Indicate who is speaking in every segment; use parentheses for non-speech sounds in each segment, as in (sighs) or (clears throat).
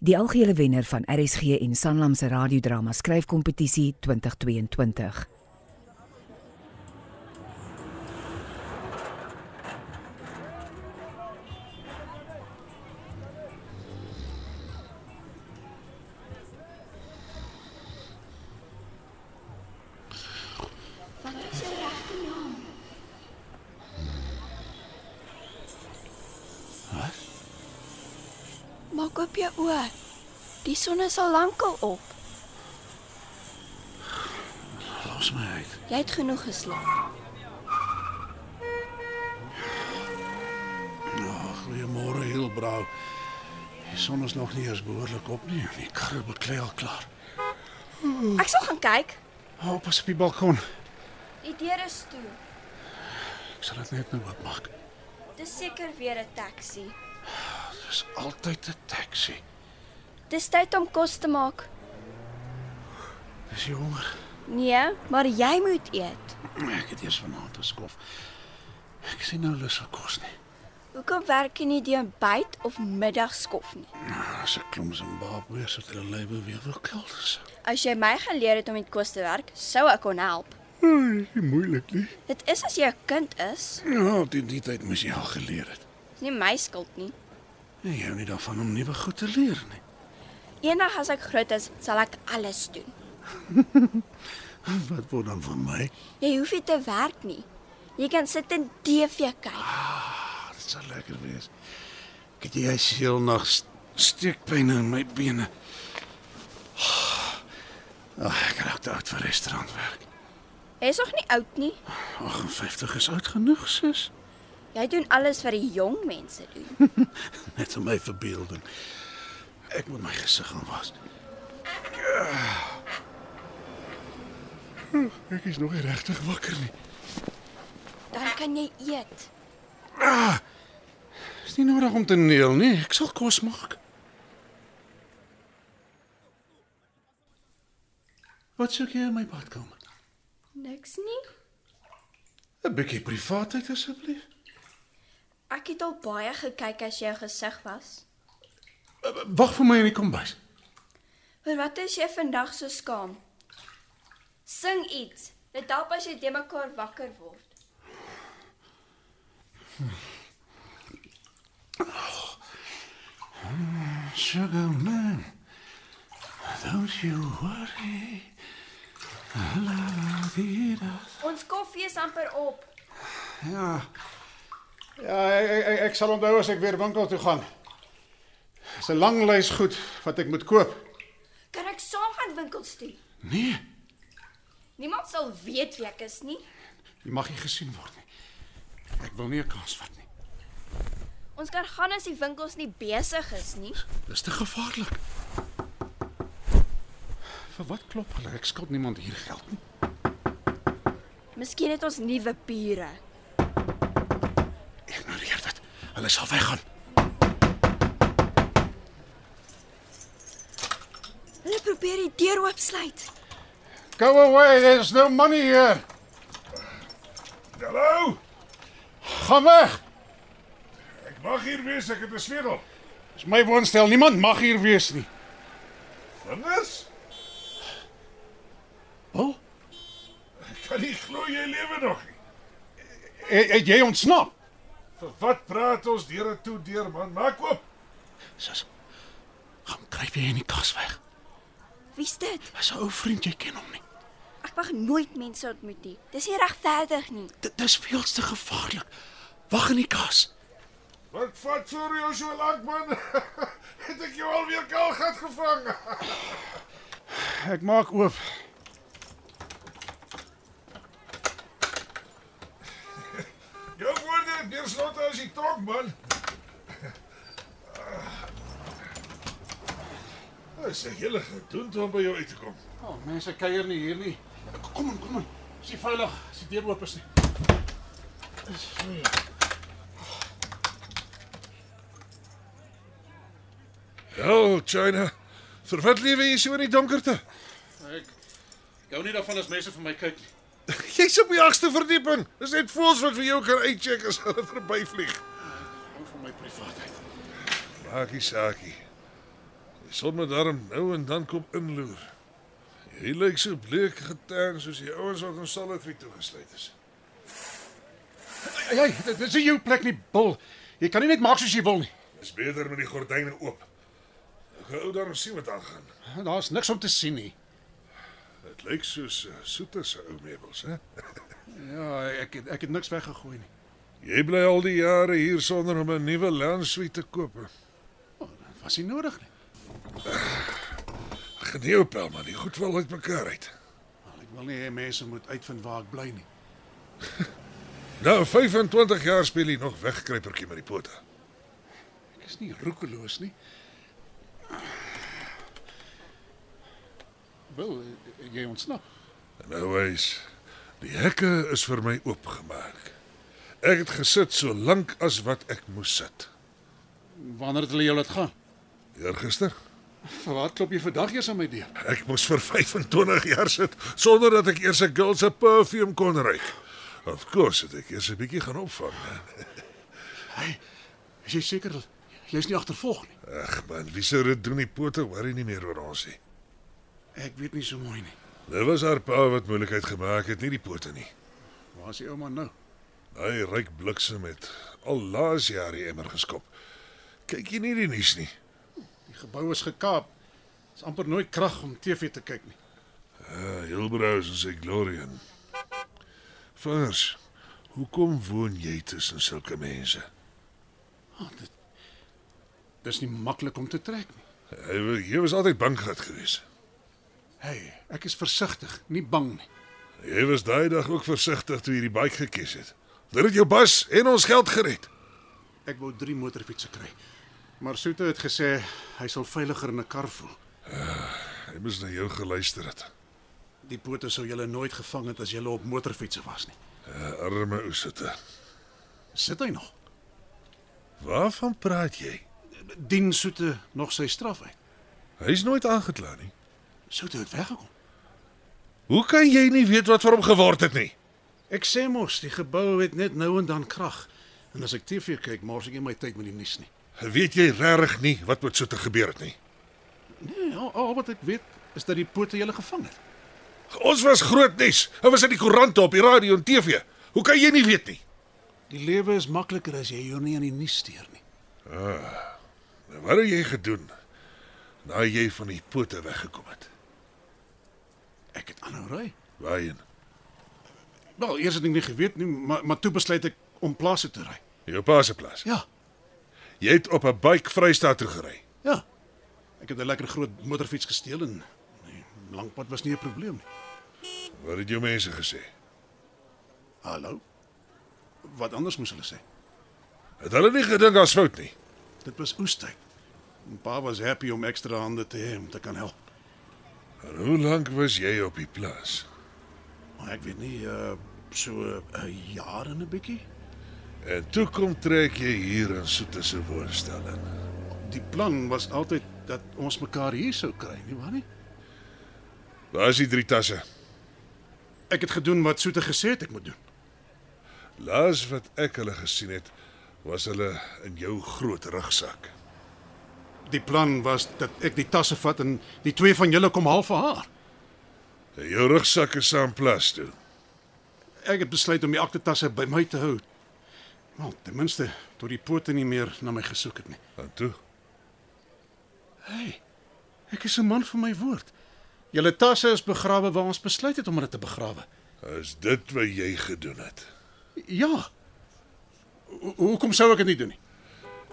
Speaker 1: Die algehele wenner van RSG en Sanlam se radiodrama skryfkompetisie 2022.
Speaker 2: Wat is jou regte naam? Wat? Maak op jou oë. Die son is al lankal op.
Speaker 3: Los my uit.
Speaker 2: Jy het genoeg geslaap.
Speaker 3: Ja, goeiemôre Hilbrau. Die son is nog nie eens behoorlik op nie. en Die karre beklei al klaar.
Speaker 2: Ek sal gaan kyk.
Speaker 3: Hou pas op die balkon.
Speaker 2: Die deur is toe.
Speaker 3: Ek sal dit net nou oopmaak.
Speaker 2: Dis seker weer 'n taxi.
Speaker 3: Dis altyd 'n taxi.
Speaker 2: Dis tyd om kos te maak.
Speaker 3: Dis jy honger?
Speaker 2: Nee, maar jy moet eet.
Speaker 3: Ek het eers vanaand geskof. Ek sien nou lus vir kos nie.
Speaker 2: Hoekom werk jy nie die ontbyt of middagskof nie?
Speaker 3: Nou, as 'n klomp Zimbabweërs wat hulle lewe weer wil kelders.
Speaker 2: As jy my geleer het om met kos te werk, sou ek kon help.
Speaker 3: Oei, nie moeilik nie.
Speaker 2: Dit is as jy 'n kind is,
Speaker 3: Ja, op die, die tyd moes jy al geleer het.
Speaker 2: dis nie my skuld nie.
Speaker 3: En Jy hou nie daarvan om nuwe goed te leer nie.
Speaker 2: Eendag as ek groot is, sal ek alles doen.
Speaker 3: Wat word dan van my?
Speaker 2: Jy hoef nie te werk nie. Jy kan sit en TV kyk.
Speaker 3: Ah, dit sal lekker wees. Ek het jy siel nog st- steekpyn in my bene. Ag, ek oh, raak te oud vir restaurantwerk.
Speaker 2: Jy's nog nie oud nie.
Speaker 3: 58 is oud genoeg, sis.
Speaker 2: Jy doen alles wat die jong mense doen.
Speaker 3: Net in my verbeelding. Ek moet my gesig gaan was. Hm, Ek is nog nie regtig wakker nie.
Speaker 2: Dan kan jy eet.
Speaker 3: Is nie nodig om te neel nie. Ek sal kos maak. Wat soek jy in my badkamer?
Speaker 2: Niks nie.
Speaker 3: 'n Bietjie privaatheid asseblief.
Speaker 2: Ek het al baie gekyk as jou gesig was.
Speaker 3: Eh, Wag vir my in die kombuis.
Speaker 2: Vir wat is jy vandag so skaam? Sing iets. Dit help as jy te mekaar wakker word.
Speaker 3: Sugar man. Don't you worry. La di da.
Speaker 2: Ons koffie is amper op.
Speaker 3: Ja. Ja, ek, ek, ek sal onthou as ek weer winkel toe gaan. Dis 'n lang lys goed wat ek moet koop.
Speaker 2: Kan ek saam gaan winkels toe?
Speaker 3: Nee,
Speaker 2: Niemand sal weet wie ek is nie.
Speaker 3: jy mag nie gesien word nie. Ek wil nie 'n kans vat nie.
Speaker 2: Ons kan gaan as die winkels nie besig is nie.
Speaker 3: Dis te gevaarlik. Vir wat klop hulle? Ek skuld niemand hier geld nie.
Speaker 2: Miskien het ons nuwe bure.
Speaker 3: Ignoreer dit. Hulle sal weggaan.
Speaker 2: Hulle probeer die deur oopsluit.
Speaker 3: Go away. There's no money here. Hallo. Gaan weg.
Speaker 4: Ek mag hier wees, ek het 'n sleutel.
Speaker 3: Dis my woonstel. Niemand mag hier wees nie.
Speaker 4: Vingers?
Speaker 3: Wel,
Speaker 4: Ek kan nie glo jy lewe nog nie.
Speaker 3: het, het jy ontsnap?
Speaker 4: Vir wat praat ons deure toe deur man? Maak oop.
Speaker 3: Sis. Gaan kruip jy in die kas weg.
Speaker 2: Wie's dit?
Speaker 3: Dis 'n ou vriend, jy ken hom nie.
Speaker 2: Ek mag nooit mense ontmoet nie. Dis nie regverdig nie.
Speaker 3: Dit dis veel te gevaarlik. Wag in die kas.
Speaker 4: Wat vat vir jou so lank man? (laughs) het ek jou alweer kaal gat gevang?
Speaker 3: (sighs) Ek maak oop.
Speaker 4: (laughs) jou woorde het meer slotte as die trok man. (laughs) Dis 'n hele gedoen toe om by jou uit te kom.
Speaker 3: O, oh, mense kuier nie hier nie. Kom in, kom in. Is nie veilig as die deur oop is nie.
Speaker 4: Ja, China. Vir wat lewe jy so in die
Speaker 3: (laughs)
Speaker 4: donkerte?
Speaker 3: Ek gou nie daarvan as mense vir my kyk nie.
Speaker 4: Jy's op die agste verdieping. Dis net voels wat vir jou kan uitcheck as hulle verbyvlieg.
Speaker 3: Hou van my privaatheid.
Speaker 4: Maakie saakie. Die son moet darm nou en dan kom inloer. Jy lyk so bleek getern soos die ouens wat ons sal het toegesluit is.
Speaker 3: Hey, hey, dit is nie jou plek nie, Bill. Jy kan nie net maak soos jy wil nie.
Speaker 4: Dis beter met die gordyne oop. Ek wou dan sien wat aangaan.
Speaker 3: Daar's niks om te sien nie.
Speaker 4: Dit lyk soos eh, soete se ou meubels, hè?
Speaker 3: Ja, ek het, ek het niks weggegooi nie.
Speaker 4: Jy bly al die jare hier sonder om 'n nuwe landsuite te koop.
Speaker 3: Dit Oh, was nie nodig nie.
Speaker 4: Geneeu pel nee, man, die goed wel uit mekaar uit.
Speaker 3: Wel, Ek wil nie hê mense moet uitvind waar ek bly nie.
Speaker 4: Nou 25 jaar speel jy nog wegkruipertjie met die pote.
Speaker 3: Ek is nie roekeloos nie. Bill, jy ontsnap.
Speaker 4: En nou wys, die hekke is vir my oopgemaak. Ek het gesit so lank as wat ek moes sit.
Speaker 3: Wanneer het hulle jou laat gaan?
Speaker 4: Eergister,
Speaker 3: Vir wat klop jy vandag eers aan my deur?
Speaker 4: ek moes vir (laughs) 25 jaar sit sonder dat ek eers 'n girl se perfume kon ruik. Of course, het ek eers 'n bietjie gaan opvang.
Speaker 3: Is jy seker dat- jy's nie agtervolg nie?
Speaker 4: Ag man, wie sou dit doen? Die pote worry nie meer oor ons nie.
Speaker 3: Ek weet nie so mooi nie.
Speaker 4: Dit was haar pa wat moeilikheid gemaak het, nie die pote nie.
Speaker 3: Waar is die ouma nou?
Speaker 4: Hy ryk bliksem het al laas jaar die emmer geskop. Kyk jy nie die nuus nie?
Speaker 3: Die gebou is gekaap. Dit's amper nooit krag om TV te kyk nie.
Speaker 4: Uh, Hilbrous en sy Glorian. Vingers, hoekom woon jy tussen sulke mense?
Speaker 3: Oh, dit dis nie maklik om te trek nie.
Speaker 4: Hy wa- jy was altyd bang gehad gewees.
Speaker 3: Hey, ek is versigtig, nie bang nie.
Speaker 4: Jy was daai dag ook versigtig toe jy die bike gekies het. Dit het jou bas en ons geld gered.
Speaker 3: Ek wou 3 motorfietsse kry. Maar Soete het gesê hy sal veiliger in 'n kar voel.
Speaker 4: Hy moes na jou geluister het.
Speaker 3: Die pote sou julle nooit gevang het as julle op motorfietsse was nie.
Speaker 4: Uh, arme ousete.
Speaker 3: Sit hy nog?
Speaker 4: Waarvan praat jy?
Speaker 3: Dien Soete nog sy straf uit.
Speaker 4: Hy's nooit aangekla nie.
Speaker 3: Soete het weggekom.
Speaker 4: Hoe kan jy nie weet wat vir hom geword het nie?
Speaker 3: Ek sê mos, die gebou het net nou en dan krag. En as ek TV kyk, mors ek nie my tyd met die nuus nie.
Speaker 4: Weet jy regtig nie wat met Soete gebeur het nie?
Speaker 3: Nee, al, al wat ek weet is dat die pote julle gevang het.
Speaker 4: Ons was groot nuus. Dit was in die koerante, op die radio en TV. Hoe kan jy nie weet nie?
Speaker 3: Die lewe is makliker as jy jou nie aan die nuus steur nie.
Speaker 4: Nou, Wat het jy gedoen nadat jy van die pote weggekom het?
Speaker 3: Ek het aanhou ry.
Speaker 4: Waarheen?
Speaker 3: Wel, eers het ek nie geweet nie, maar maar toe besluit ek om plaas toe te ry.
Speaker 4: Jou pa se plaas.
Speaker 3: Ja.
Speaker 4: Jy het op 'n bike Vrystaat toe gery.
Speaker 3: Ja. Ek het 'n lekker groot motorfiets gesteel en nee, lankpad was nie 'n probleem nie.
Speaker 4: Wat het jou mense gesê?
Speaker 3: Hallo. Wat anders moes hulle sê?
Speaker 4: Het hulle nie gedink daar's fout nie?
Speaker 3: Dit was oestyd. En pa was happy om ekstra hande te hê om te kan help.
Speaker 4: En hoe lank was jy op die plaas?
Speaker 3: Maar ek weet nie uh so 'n jaar en 'n bietjie.
Speaker 4: En toe kom trek jy hier in Soete se woonstel in.
Speaker 3: Die plan was altyd dat ons mekaar hier sou kry, nie waar nie?
Speaker 4: Waar is die drie tasse?
Speaker 3: Ek het gedoen wat Soete gesê het ek moet doen.
Speaker 4: Laas wat ek hulle gesien het, was hulle in jou groot rugsak.
Speaker 3: Die plan was dat ek die tasse vat en die twee van julle kom haal vir haar.
Speaker 4: En jou rugsak is saam plaas toe.
Speaker 3: Ek het besluit om die aktetasse by my te hou. Wel, ten minste tot die pote nie meer na my gesoek het nie.
Speaker 4: En toe
Speaker 3: Hey. Ek is 'n man van my woord. Julle tasse is begrawe waar ons besluit het om hulle te begrawe.
Speaker 4: is dit wat jy gedoen het.
Speaker 3: Ja. Ho- Hoekom sou ek dit nie doen nie?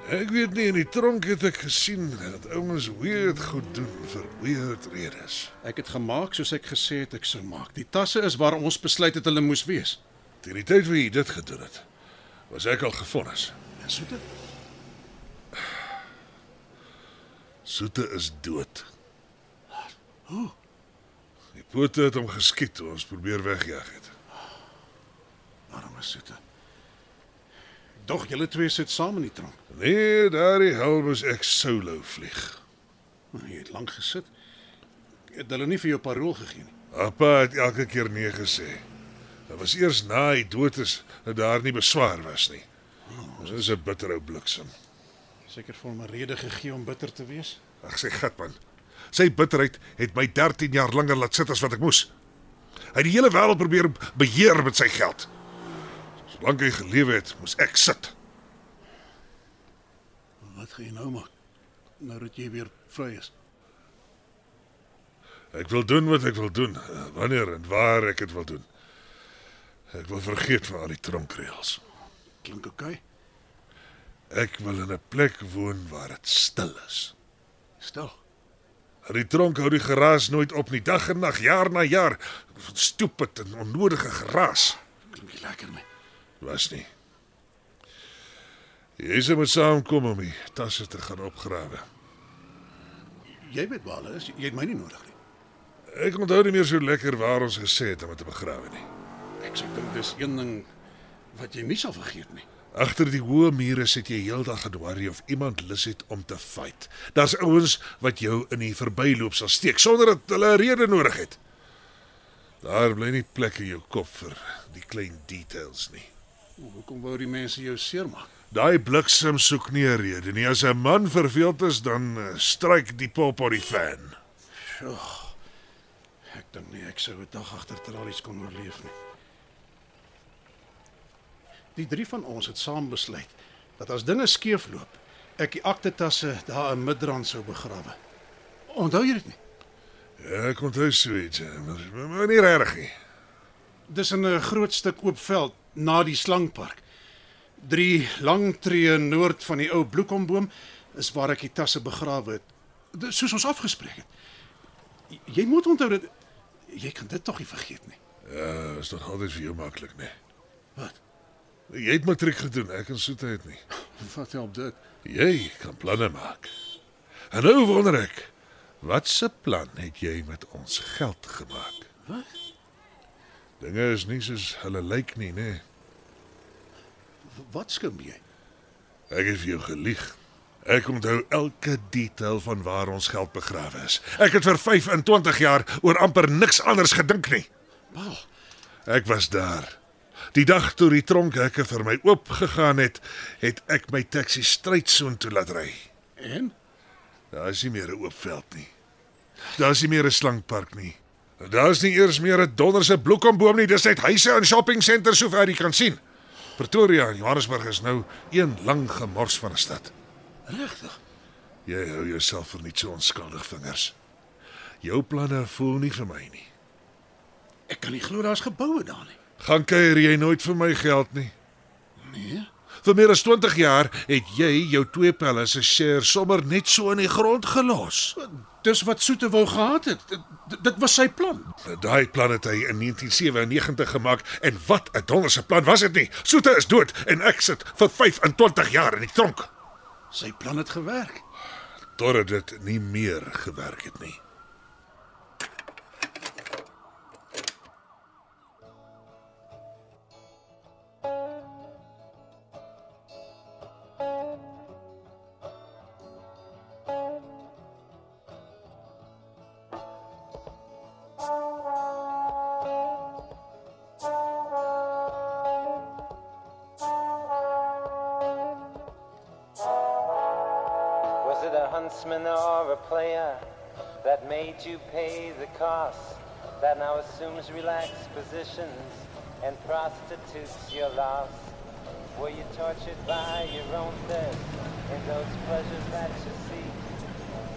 Speaker 4: Ek weet nie in die tronk het ek gesien dat ouens weird goed doen vir weird redes.
Speaker 3: Ek het gemaak soos ek gesê het ek sou maak. Die tasse is waar ons besluit het hulle moes wees.
Speaker 4: Teen die tyd wat jy dit gedoen het, was ek al gefonnis.
Speaker 3: En so dit.
Speaker 4: Soete is dood. Die pote het hom geskiet toe ons probeer wegjag het.
Speaker 3: Arme soete. Dog julle twee sit saam in die tronk.
Speaker 4: Nee, daardie helm is ek solo vlieg.
Speaker 3: Nou, Jy het lank gesit. Het hulle nie vir jou parol gegee nie.
Speaker 4: Appa het elke keer nee gesê. Dit was eers na hy dood is dat daar nie beswaar was nie. Ons is 'n bitter ou bliksem.
Speaker 3: Seker vir hom 'n rede gegee om bitter te wees.
Speaker 4: Ag sy gat man. Sy bitterheid het my 13 jaar langer laat sit as wat ek moes. Hy het die hele wêreld probeer beheer met sy geld. Solank hy gelewe het, moes ek sit.
Speaker 3: Wat gaan jy nou maak? Nou dat jy weer vry is.
Speaker 4: Ek wil doen wat ek wil doen, wanneer en waar ek dit wil doen. Ek wil vergeet van al die tronkreëls.
Speaker 3: Klink oké. Okay.
Speaker 4: Ek wil in 'n plek woon waar dit stil is.
Speaker 3: Stil.
Speaker 4: In die tronk hou die geraas nooit op nie, dag en nag, jaar na jaar. Stupid en onnodige geraas.
Speaker 3: Klink nie lekker nie.
Speaker 4: Was nie. Jyse moet saamkom om die tasse te gaan opgrawe.
Speaker 3: Jy weet waar hulle is. Jy het my nie nodig nie.
Speaker 4: Ek onthou nie meer so lekker waar ons gesê het om dit te begrawe nie.
Speaker 3: Ek sê dink dis een ding wat jy nie sal vergeet nie.
Speaker 4: Agter die hoë mure sit jy heeldag gedwarrie of iemand lus het om te fight. Daar's ouens wat jou in die verbyloop sal steek sonder dat hulle 'n rede nodig het. Daar bly nie plek in jou kop vir die klein details nie.
Speaker 3: O, Hoekom wou die mense jou seermaak?
Speaker 4: Daai bliksem soek nie 'n rede nie. As 'n man verveeld is, dan eh, stryk die pop op die fan.
Speaker 3: Ek dink nie ek sou 'n dag agter tralies kon oorleef nie. Die drie van ons het saam besluit dat as dinge skeefloop, ek die aktetasse daar in Midrand sou begrawe. Onthou jy dit nie?
Speaker 4: Ja, ek onthou so iets, eh, maar maar nie regtig nie.
Speaker 3: Dis in 'n groot stuk oop veld na die slangpark. Drie lang tree noord van die ou bloekomboom is waar ek die tasse begrawe het. Dis soos ons afgespreek het. J- Jy moet onthou dat jy kan dit tog nie vergeet nie.
Speaker 4: Ja, is nog altyd vir jou maklik, nee.
Speaker 3: Wat? (laughs)
Speaker 4: Jy het matriek gedoen, ek en Soete het nie.
Speaker 3: Wat help dit?
Speaker 4: Jy kan planne maak. En nou wonder ek, wat se plan het jy met ons geld gemaak?
Speaker 3: Wat?
Speaker 4: Dinge is nie soos hulle lyk nie, nee.
Speaker 3: Wat skim jy?
Speaker 4: Ek het vir jou gelieg. Ek onthou elke detail van waar ons geld begrawe is. Ek het vir 25 jaar oor amper niks anders gedink nie.
Speaker 3: Wel,
Speaker 4: Ek was daar. Die dag toe die tronkhekke vir my oopgegaan het, het ek my taxi stryd soontoe laat ry.
Speaker 3: en
Speaker 4: Daar is nie meer 'n oop veld nie. Daar is nie meer 'n slangpark nie. Daar is nie eers meer 'n donderse bloekomboom nie. Dis net huise en shoppingsentrums sover jy kan sien. Pretoria en Johannesburg is nou een lang gemors van 'n stad.
Speaker 3: regtig?
Speaker 4: Jy hou jouself vir net so onskuldig vingers. Jou planne voel nie vir my nie.
Speaker 3: Ek kan nie glo daar's geboue daar nie.
Speaker 4: Gaan kuier jy nooit vir my geld nie.
Speaker 3: Nee.
Speaker 4: Vir meer as 20 jaar het jy jou twee pelle se share sommer net so in die grond gelos.
Speaker 3: Dis wat Soete wou gehad het. Dit, dit was sy plan.
Speaker 4: Daai plan het hy in 1997 gemaak en wat 'n donderse plan was dit nie. Soete is dood en ek sit vir 25 jaar in die tronk.
Speaker 3: Sy plan het gewerk.
Speaker 4: Totdat dit nie meer gewerk het nie.
Speaker 5: Was it a huntsman or a player that made you pay the cost that now assumes relaxed positions and prostitutes your loss? Were you tortured by your own thirst in those pleasures that you seek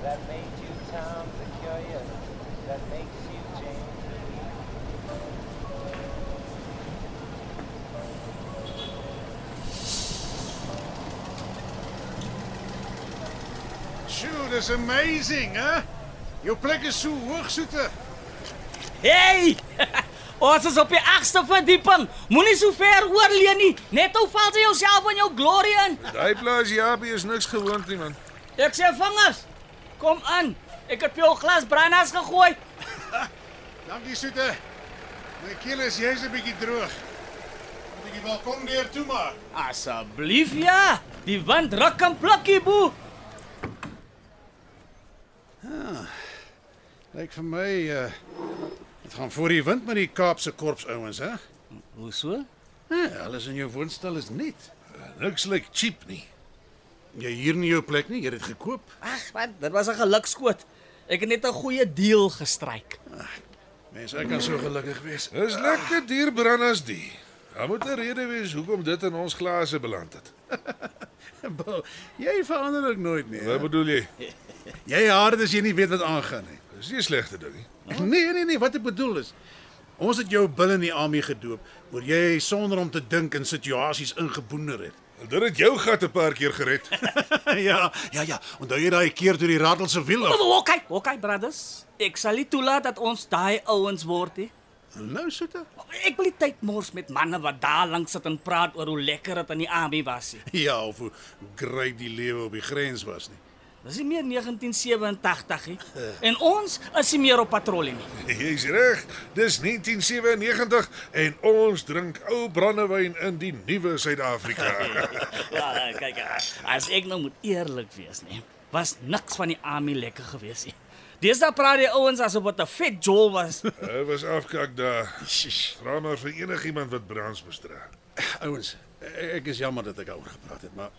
Speaker 5: that made you Tom the Curious, that makes you James the Weak?
Speaker 3: Sure, dis amazing, hè? Jou plek is so hoog, Soete.
Speaker 6: Hey! Ons is op die agste verdieping. Moenie so ver oorleen nie. Net ou val jy jouself in jou glory in.
Speaker 4: Daai plaas Japie is niks gewoond nie man.
Speaker 6: Ek sê vingers. Kom aan. Ek het vir jou 'n glas brandas gegooi.
Speaker 3: Dankie soete. My keel is jy's 'n bietjie droog. Moet ek die balkon deur toemaak?
Speaker 6: Asseblief ja. Die wind ruk en plukkie boe.
Speaker 3: Lyk vir my uh dit gaan voor die wind met die Kaapse korps ouens, hè?
Speaker 6: Hoe so?
Speaker 3: Ja, alles in jou woonstel is nuut.
Speaker 4: Niks lyk cheap nie.
Speaker 3: Jy hier nie jou plek nie, jy het dit gekoop.
Speaker 6: Ag, wat? Dit was 'n gelukskoot. Ek het net 'n goeie deal gestryk.
Speaker 3: Mens, ek kan so gelukkig wees.
Speaker 4: Dis lekker duur brandas die. Daar moet 'n rede wees hoekom dit in ons glase beland het.
Speaker 3: (laughs) Bo, jy verander ook nooit nie.
Speaker 4: Wat
Speaker 3: hè?
Speaker 4: bedoel jy?
Speaker 3: Jy harde as jy nie weet wat aangaan nie.
Speaker 4: Dis nie 'n slegte ding nie.
Speaker 3: Nee, nee, nee, wat ek bedoel is ons het jou bil in die army gedoop oor jy sonder om te dink in situasies ingeboener het.
Speaker 4: Dit het jou gat 'n paar keer gered.
Speaker 3: (laughs) ja, ja, ja. Onthou jy daai keer toe die rattel se wiel
Speaker 4: (laughs)
Speaker 3: af?
Speaker 6: Oh, okay, okay brothers. Ek sal nie toelaat dat ons daai ouens word nie.
Speaker 3: Nou soete.
Speaker 6: Ek wil nie tyd mors met manne wat daar lank sit en praat oor hoe lekker dit in die army was nie.
Speaker 3: Ja, of hoe great die lewe op die grens was nie.
Speaker 6: Dis nie meer 1987 (laughs) nie. En ons is nie meer op patrollie nie.
Speaker 4: (laughs) Jy's reg. Dis 1997 en ons drink ou brandewyn in die nuwe
Speaker 3: (laughs)
Speaker 4: Suid-Afrika.
Speaker 6: (laughs) Ja, kyk, as ek nou moet eerlik wees, nê, was niks van die army lekker gewees nie. Deesdae praat die ouens asof dit 'n vet jol was.
Speaker 4: Dit was afkak daar. Vra maar vir enigiemand wat brands bestra.
Speaker 3: Ouens, e-, ek is jammer dat ek daaroor gepraat het, maar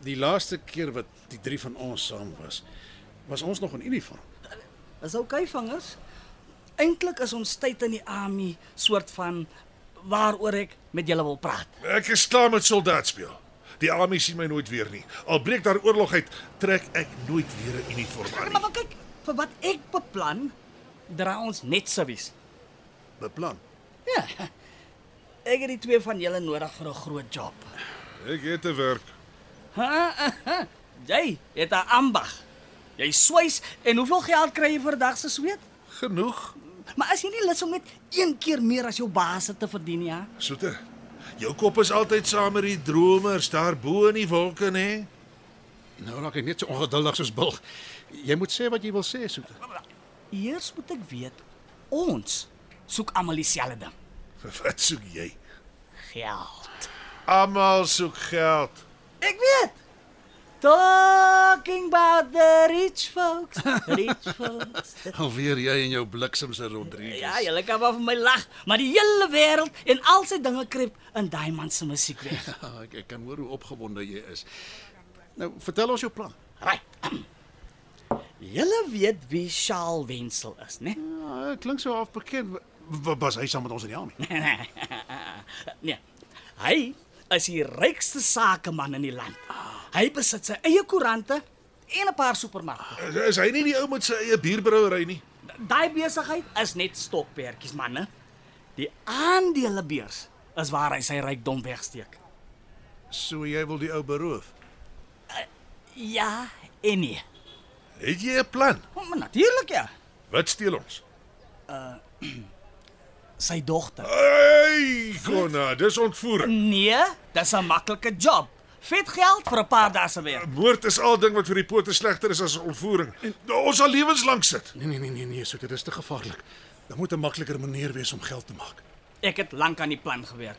Speaker 3: die laaste keer wat die drie van ons saam was, was ons nog in uniform.
Speaker 6: (laughs) Is okay vangers. Eintlik is ons tyd in die army soort van waaroor ek met julle wil praat.
Speaker 4: Ek is klaar met soldaat speel. Die army sien my nooit weer nie. Al breek daar oorlog uit, trek ek nooit weer 'n uniform aan
Speaker 6: Maar,
Speaker 4: nie.
Speaker 6: maar kyk, vir wat ek beplan, dra ons net servies.
Speaker 3: Beplan.
Speaker 6: Ja. (laughs) Ek het die twee van julle nodig vir 'n groot job.
Speaker 4: Ek het te werk.
Speaker 6: Ha, ha, ha. Jy het 'n ambag. Jy swys en hoeveel geld kry jy vir 'n dag se sweet?
Speaker 4: Genoeg.
Speaker 6: Maar as jy nie lus om net een keer meer as jou baas te verdien ja.
Speaker 4: Soete. Jou kop is altyd saam met die dromers daar bo in die wolke, hè?
Speaker 3: Nou raak ek net so ongeduldig soos Bil. Jy moet sê wat jy wil sê, soete.
Speaker 6: Eers moet ek weet ons soek almal dieselfde ding.
Speaker 4: (laughs) Wat soek jy?
Speaker 6: Geld.
Speaker 4: Almal soek geld.
Speaker 6: Ek weet. Talking about the rich folks. Rich folks.
Speaker 3: Alweer jy en jou bliksemse Rodriguez.
Speaker 6: Ja, julle kan wel vir my lag, maar die hele wêreld en al sy dinge krip in daai man se musiek weg.
Speaker 3: ja ek, ek kan hoor hoe opgewonde jy is. Nou, vertel ons jou plan.
Speaker 6: Right. (clears throat) Julle weet wie Shaal Wenzel is, né? (laughs)
Speaker 3: Ja, klink so half bekend. Was hy saam met ons in die army?
Speaker 6: nee. Hy is die rykste sakeman in die land. Hy besit sy eie koerante en 'n paar supermarkte.
Speaker 4: Is- Is hy nie die ou met sy eie bierbrouery nie?
Speaker 6: Daai besigheid is net stokperdjies, man, né? Die aandelebeurs is waar hy sy rykdom wegsteek.
Speaker 3: So jy wil die ou beroof.
Speaker 6: Ja, en nee.
Speaker 4: Het jy 'n plan?
Speaker 6: Oh, maar natuurlik ja.
Speaker 4: Wat steel ons?
Speaker 6: Sy dogter.
Speaker 4: Hey, Konna, dis ontvoering.
Speaker 6: Nee, dis 'n maklike job. Vet geld vir 'n paar dae se werk.
Speaker 4: Moord is al ding wat vir die pote slegter is as ontvoering. Ons sal lewenslank sit.
Speaker 3: Nee nee nee nee nee, so dit is te gevaarlik. Daar moet 'n makliker manier wees om geld te maak.
Speaker 6: Ek het lank aan die plan gewerk.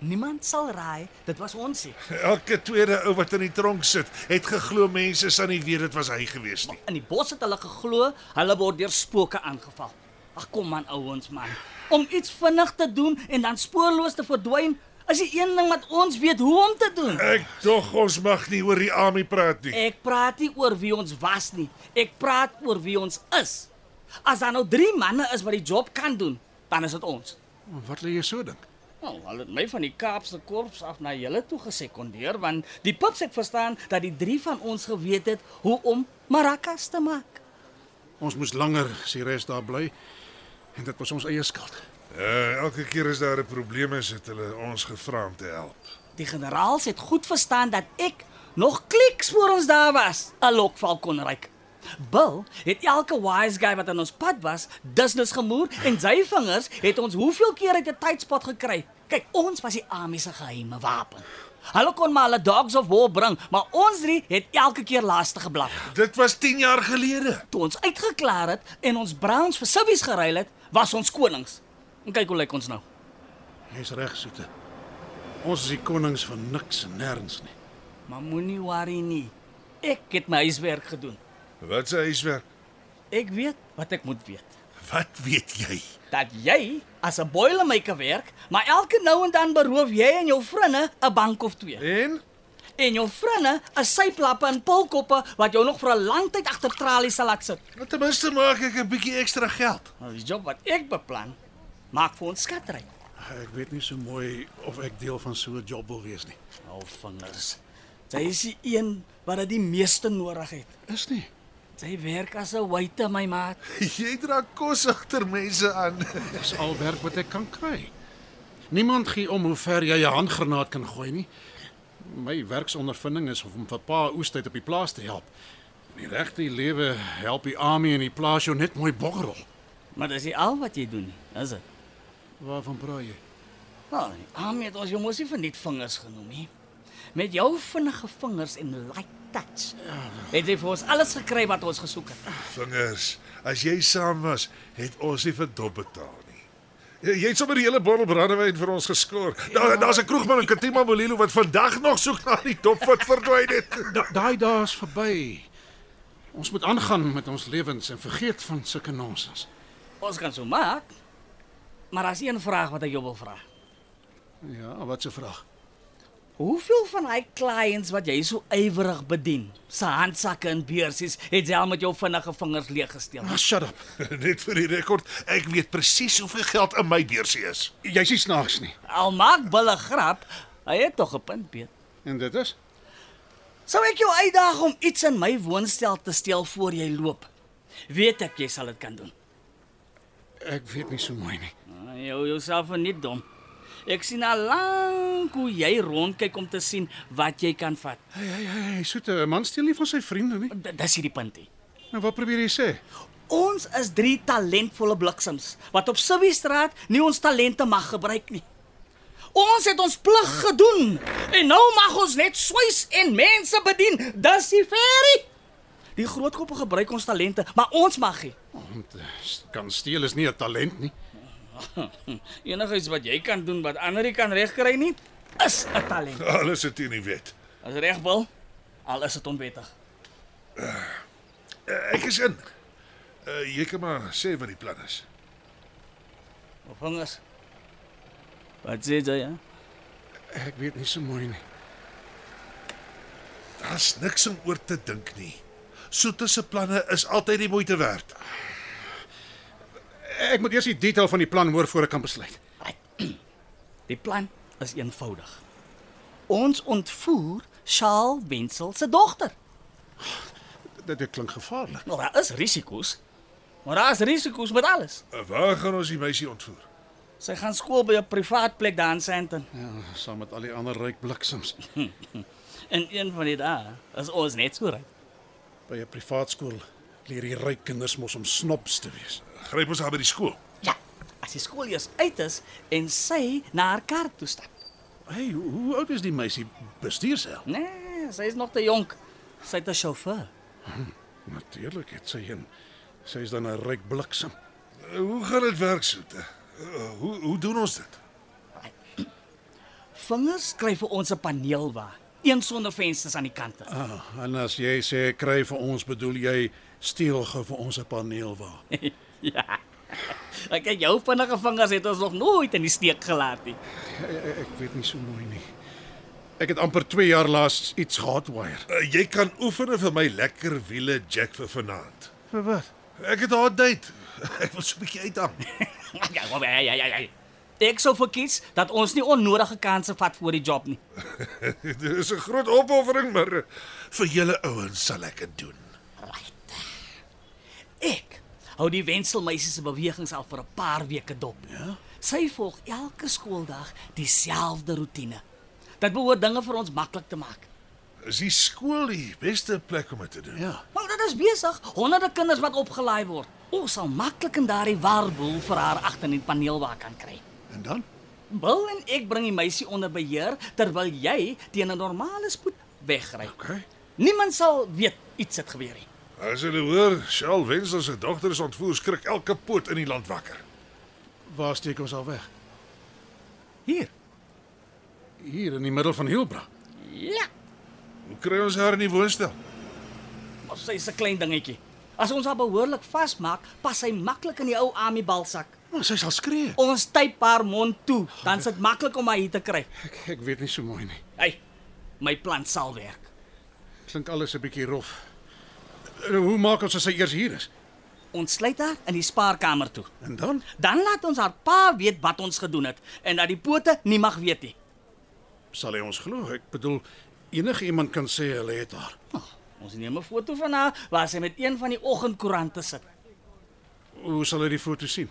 Speaker 6: Niemand sal raai dit was ons nie.
Speaker 4: Elke tweede ou wat in die tronk sit, het geglo mense sal nie weet dit was hy gewees nie.
Speaker 6: In die bos het hulle geglo hulle word deur spooke aangeval. Ag kom man ouens man. Om iets vinnig te doen en dan spoorloos te verdwyn is die een ding wat ons weet hoe om te doen.
Speaker 4: Ek dog ons mag nie oor die army praat nie.
Speaker 6: Ek praat nie oor wie ons was nie. Ek praat oor wie ons is. As daar nou 3 manne is wat die job kan doen, dan is dit ons.
Speaker 3: Wat lê jy so dink?
Speaker 6: Nou, hulle het my van die Kaapse korps af na julle toe gesekondeer want die pips het verstaan dat die drie van ons geweet het hoe om maracas te maak.
Speaker 3: Ons moes langer Sires daar bly en dit was ons eie skuld.
Speaker 4: Uh, elke keer as daar 'n probleem is, het hulle ons gevra om te help.
Speaker 6: Die generaals het goed verstaan dat ek nog kliks voor ons daar was, 'n lokval kon ryk. Bill het elke wise guy wat aan ons pad was, dusnus gemoer en sy vingers het ons hoeveel keer uit 'n tydspot gekry. Kyk, ons was die army se geheime wapen. Hulle kon maar hulle dogs of war bring, maar ons drie het elke keer laaste geblaf.
Speaker 4: Dit was 10 jaar gelede.
Speaker 6: Toe ons uitgeklaar het en ons Browns vir Civies geruil het, was ons konings. En kyk hoe lyk ons nou.
Speaker 3: Jy's reg, Soete. Ons is die konings van niks en nêrens nie.
Speaker 6: Maar moenie worry nie. Ek het my huiswerk gedoen.
Speaker 4: Wat se huiswerk?
Speaker 6: Ek weet wat ek moet weet.
Speaker 4: Wat weet jy?
Speaker 6: Dat jy as 'n boilermaker werk, maar elke nou en dan beroof jy en jou vriende 'n bank of twee.
Speaker 4: En
Speaker 6: En jou vriende 'n syplappe en pulkoppe wat jou nog vir 'n lang tyd agter tralies sal laat sit.
Speaker 4: nou ten minste maak ek 'n bietjie ekstra geld. (laughs)
Speaker 6: Nou die job wat ek beplan, maak vir ons skatryk.
Speaker 3: Ek weet nie so mooi of ek deel van so 'n job wil wees nie.
Speaker 6: Al vingers. Sy is die een wat dit die meeste nodig het.
Speaker 3: Is nie.
Speaker 6: Sy werk as 'n waiter, my maat.
Speaker 4: Jy dra kos agter mense aan.
Speaker 3: Dis al werk wat ek kan kry. Niemand gee om hoe ver jy 'n handgranaat kan gooi nie. My werksondervinding is om vir pa oestyd op die plaas te help. In die regte lewe help die army en die plaas jou net mooi bokkerrol.
Speaker 6: Maar dis nie al wat jy doen nie, is dit?
Speaker 3: Waarvan praat jy?
Speaker 6: Nou, Ami het ons jou mos nie vir net vingers genoem nie. Met jou vinnige vingers en light touch. Het jy vir ons alles gekry wat ons gesoek het?
Speaker 4: Vingers, as jy saam was, het ons nie vir dop betaal nie. Jy jy het sommer die hele bottel brandewyn vir ons geskoor.
Speaker 3: Ja.
Speaker 4: Daar daar's 'n kroegman in Katima Molilo wat vandag nog soek na die dop wat verdwyn
Speaker 3: (laughs)
Speaker 4: het.
Speaker 3: Da, daai dae is verby. Ons moet aangaan met ons lewens en vergeet van sulke nonsens.
Speaker 6: Ons kan so maak. Maar as een vraag wat ek jou wil vra.
Speaker 3: Ja, wat 'n vraag.
Speaker 6: Hoeveel van hy clients wat jy so ywerig bedien, se handsakke en beursies, het jy al met jou vinnige vingers leeg gesteel?
Speaker 3: Ah, shut
Speaker 4: (laughs)
Speaker 3: up.
Speaker 4: (laughs) Net vir die rekord, ek weet presies hoeveel geld in my beursie is.
Speaker 3: Jy's nie snaaks nie.
Speaker 6: Al maak bulle grap, hy het tog 'n punt, Piet.
Speaker 3: En dit is
Speaker 6: Sou ek jou uitdaag om iets in my woonstel te steel voor jy loop? Weet ek jy sal dit kan doen.
Speaker 3: ek weet nie so mooi nie.
Speaker 6: Ah, Jou jouself is nie dom. Ek sien al lank hoe jy rondkyk om te sien wat jy kan vat.
Speaker 3: Hey, hey, hey, hey, soete, 'n man steel nie van sy vriende nie.
Speaker 6: D- Dis hierdie puntie.
Speaker 3: Nou wat probeer jy sê?
Speaker 6: Ons is drie talentvolle bliksems wat op Sibby Straat nie ons talente mag gebruik nie. Ons het ons plig gedoen en nou mag ons net swys en mense bedien. Dis die ferry. Die grootkoppe gebruik ons talente, maar ons mag nie.
Speaker 3: Want eh, kan steel is nie 'n talent (laughs) nie.
Speaker 6: (laughs) Enigiets wat jy kan doen wat ander nie kan regkry nie, is 'n talent.
Speaker 4: Alles het in die wet.
Speaker 6: As regbil, al is dit onwettig.
Speaker 4: Eh, Ek is in. Uh, jy kan maar sê wat die plan is.
Speaker 6: Of vingers. Wat sê jy? hè?
Speaker 3: Ek weet nie so mooi nie.
Speaker 4: Daar's niks om oor te dink nie. Soete se planne is altyd die moeite werd.
Speaker 3: Ek moet eers die detail van die plan hoor voor ek kan besluit.
Speaker 6: Die plan is eenvoudig. Ons ontvoer Shaal Wenzel se dogter.
Speaker 3: Dit, dit klink gevaarlik.
Speaker 6: Nou daar is risiko's. Maar daar is risiko's met alles.
Speaker 4: Eh, Waar gaan ons die meisie ontvoer?
Speaker 6: Sy gaan skool by 'n privaat plek daar in Sandton.
Speaker 3: Ja, saam met al die ander ryk bliksems
Speaker 6: En een van die dae is ons net so ryk.
Speaker 3: by 'n privaat skool leer die ryk kinders mos om snobs te wees.
Speaker 4: Gryp ons haar by die skool.
Speaker 6: Ja, as die skool eers uit is en sy na haar kar toe stap.
Speaker 3: Hey, hoe, hoe oud is die meisie? Bestuur sy al?
Speaker 6: Nee, sy is nog te jonk. Sy het 'n sjofeur.
Speaker 3: Natuurlik, dit sê een. Sy is dan 'n ryk bliksem.
Speaker 4: Eh, Hoe gaan dit werk, Soete? Eh, Hoe hoe doen ons dit?
Speaker 6: Vingers skryf vir ons 'n paneel waar, een sonder vensters aan die kante. (laughs)
Speaker 3: Ah, en as jy sê kry vir ons, bedoel jy steel gou vir ons 'n paneel waar.
Speaker 6: ja. Ek kyk jou vinnige vingers het ons nog nooit in die steek gelaat nie.
Speaker 3: Ek, ek weet nie so mooi nie. Ek het amper 2 jaar laas iets gehardwire.
Speaker 4: Uh, jy kan oefen vir my lekker wiele Jack vir vanaand.
Speaker 3: Vir wat?
Speaker 4: Ek het 'n hot date. (laughs) Ek wil so 'n bietjie uithang. (laughs)
Speaker 6: (laughs) Ja, ja, ja, ja, ja. Ek sou verkies dat ons nie onnodige kansse vat vir die job nie.
Speaker 4: Dit is 'n groot opoffering, maar eh, vir julle ouens sal ek dit doen.
Speaker 6: Ek hou die wenselmeisie se bewegings al vir 'n paar weke dop. Ja. Sy volg elke skooldag dieselfde roetine. Dit behoort dinge vir ons maklik te maak.
Speaker 4: Is die skool die beste plek om dit te doen?
Speaker 3: Ja.
Speaker 6: Maar dit is besig, honderde kinders wat opgelaai word. Ons sal maklik in daardie warboel vir haar agter in die paneel waar kan kry.
Speaker 3: En dan?
Speaker 6: Bill en ek bring die meisie onder beheer terwyl jy teen 'n normale spoed wegry.
Speaker 4: Okay.
Speaker 6: Niemand sal weet iets het gebeur nie.
Speaker 4: As hulle hoor, Shell Wenzel se dogter is ontvoer, skrik elke poot in die land wakker.
Speaker 3: Waar steek ons al weg?
Speaker 6: Hier.
Speaker 3: Hier in die middel van Hielbra.
Speaker 6: Ja.
Speaker 4: Hoe kry ons haar in die woonstel?
Speaker 6: Maar sy is 'n klein dingetjie. As ons haar behoorlik vasmaak, pas sy maklik in die ou Ami balsak.
Speaker 3: Maar sy sal skree.
Speaker 6: Ons typ haar mond toe, dan sit maklik om haar hier te kry.
Speaker 3: Ek ek weet nie so mooi nie.
Speaker 6: Hey, my plan sal werk.
Speaker 3: Klink alles 'n bietjie rof. En hoe maak ons as sy eers hier is?
Speaker 6: Ons sluit haar in die spaarkamer toe.
Speaker 3: En dan?
Speaker 6: Dan laat ons haar pa weet wat ons gedoen het en dat die pote nie mag weet nie.
Speaker 3: Sal hy ons glo? Ek bedoel enige iemand kan sê hulle het haar.
Speaker 6: Ag, Oh, ons neem 'n foto van haar waar sy met een van die oggendkoerante sit.
Speaker 3: Hoe sal hy die foto sien?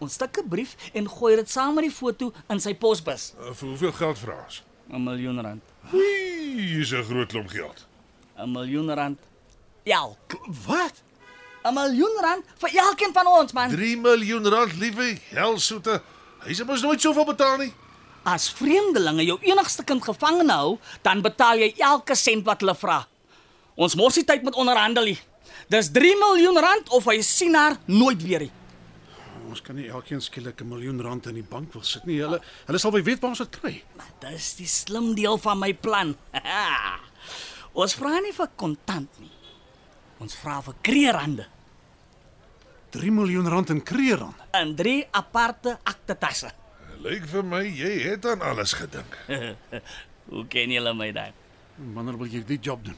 Speaker 6: Ons stik 'n brief en gooi dit saam met die foto in sy posbus.
Speaker 4: Uh, vir hoeveel geld vra ons?
Speaker 6: 'n Miljoen rand.
Speaker 4: Wie is 'n groot klomp geld.
Speaker 6: 'n Miljoen rand. Elk.
Speaker 3: Wat?
Speaker 6: 'n Miljoen rand vir elkeen van ons, man.
Speaker 4: 3 miljoen rand, liewe helsoete. Hy se mos nooit soveel betaal nie.
Speaker 6: As vreemdelinge jou enigste kind gevange hou, dan betaal jy elke sent wat hulle vra. Ons mors nie tyd met onderhandel nie. Dis 3 miljoen rand of hy sien haar nooit weer nie.
Speaker 3: Ons kan nie elkeen skielik 'n miljoen rand in die bank wil sit nie. Hulle hulle sal wel weet waar ons dit kry.
Speaker 6: Maar dis die slim deel van my plan. (laughs) ons vra nie vir kontant nie. Ons vra vir kreerande
Speaker 3: 3 miljoen rand in kreerand.
Speaker 6: in drie aparte akte tasse.
Speaker 4: Lyk vir my jy het aan alles gedink.
Speaker 6: (laughs) Hoe ken julle my dan?
Speaker 3: Wanneer wil jy die job doen?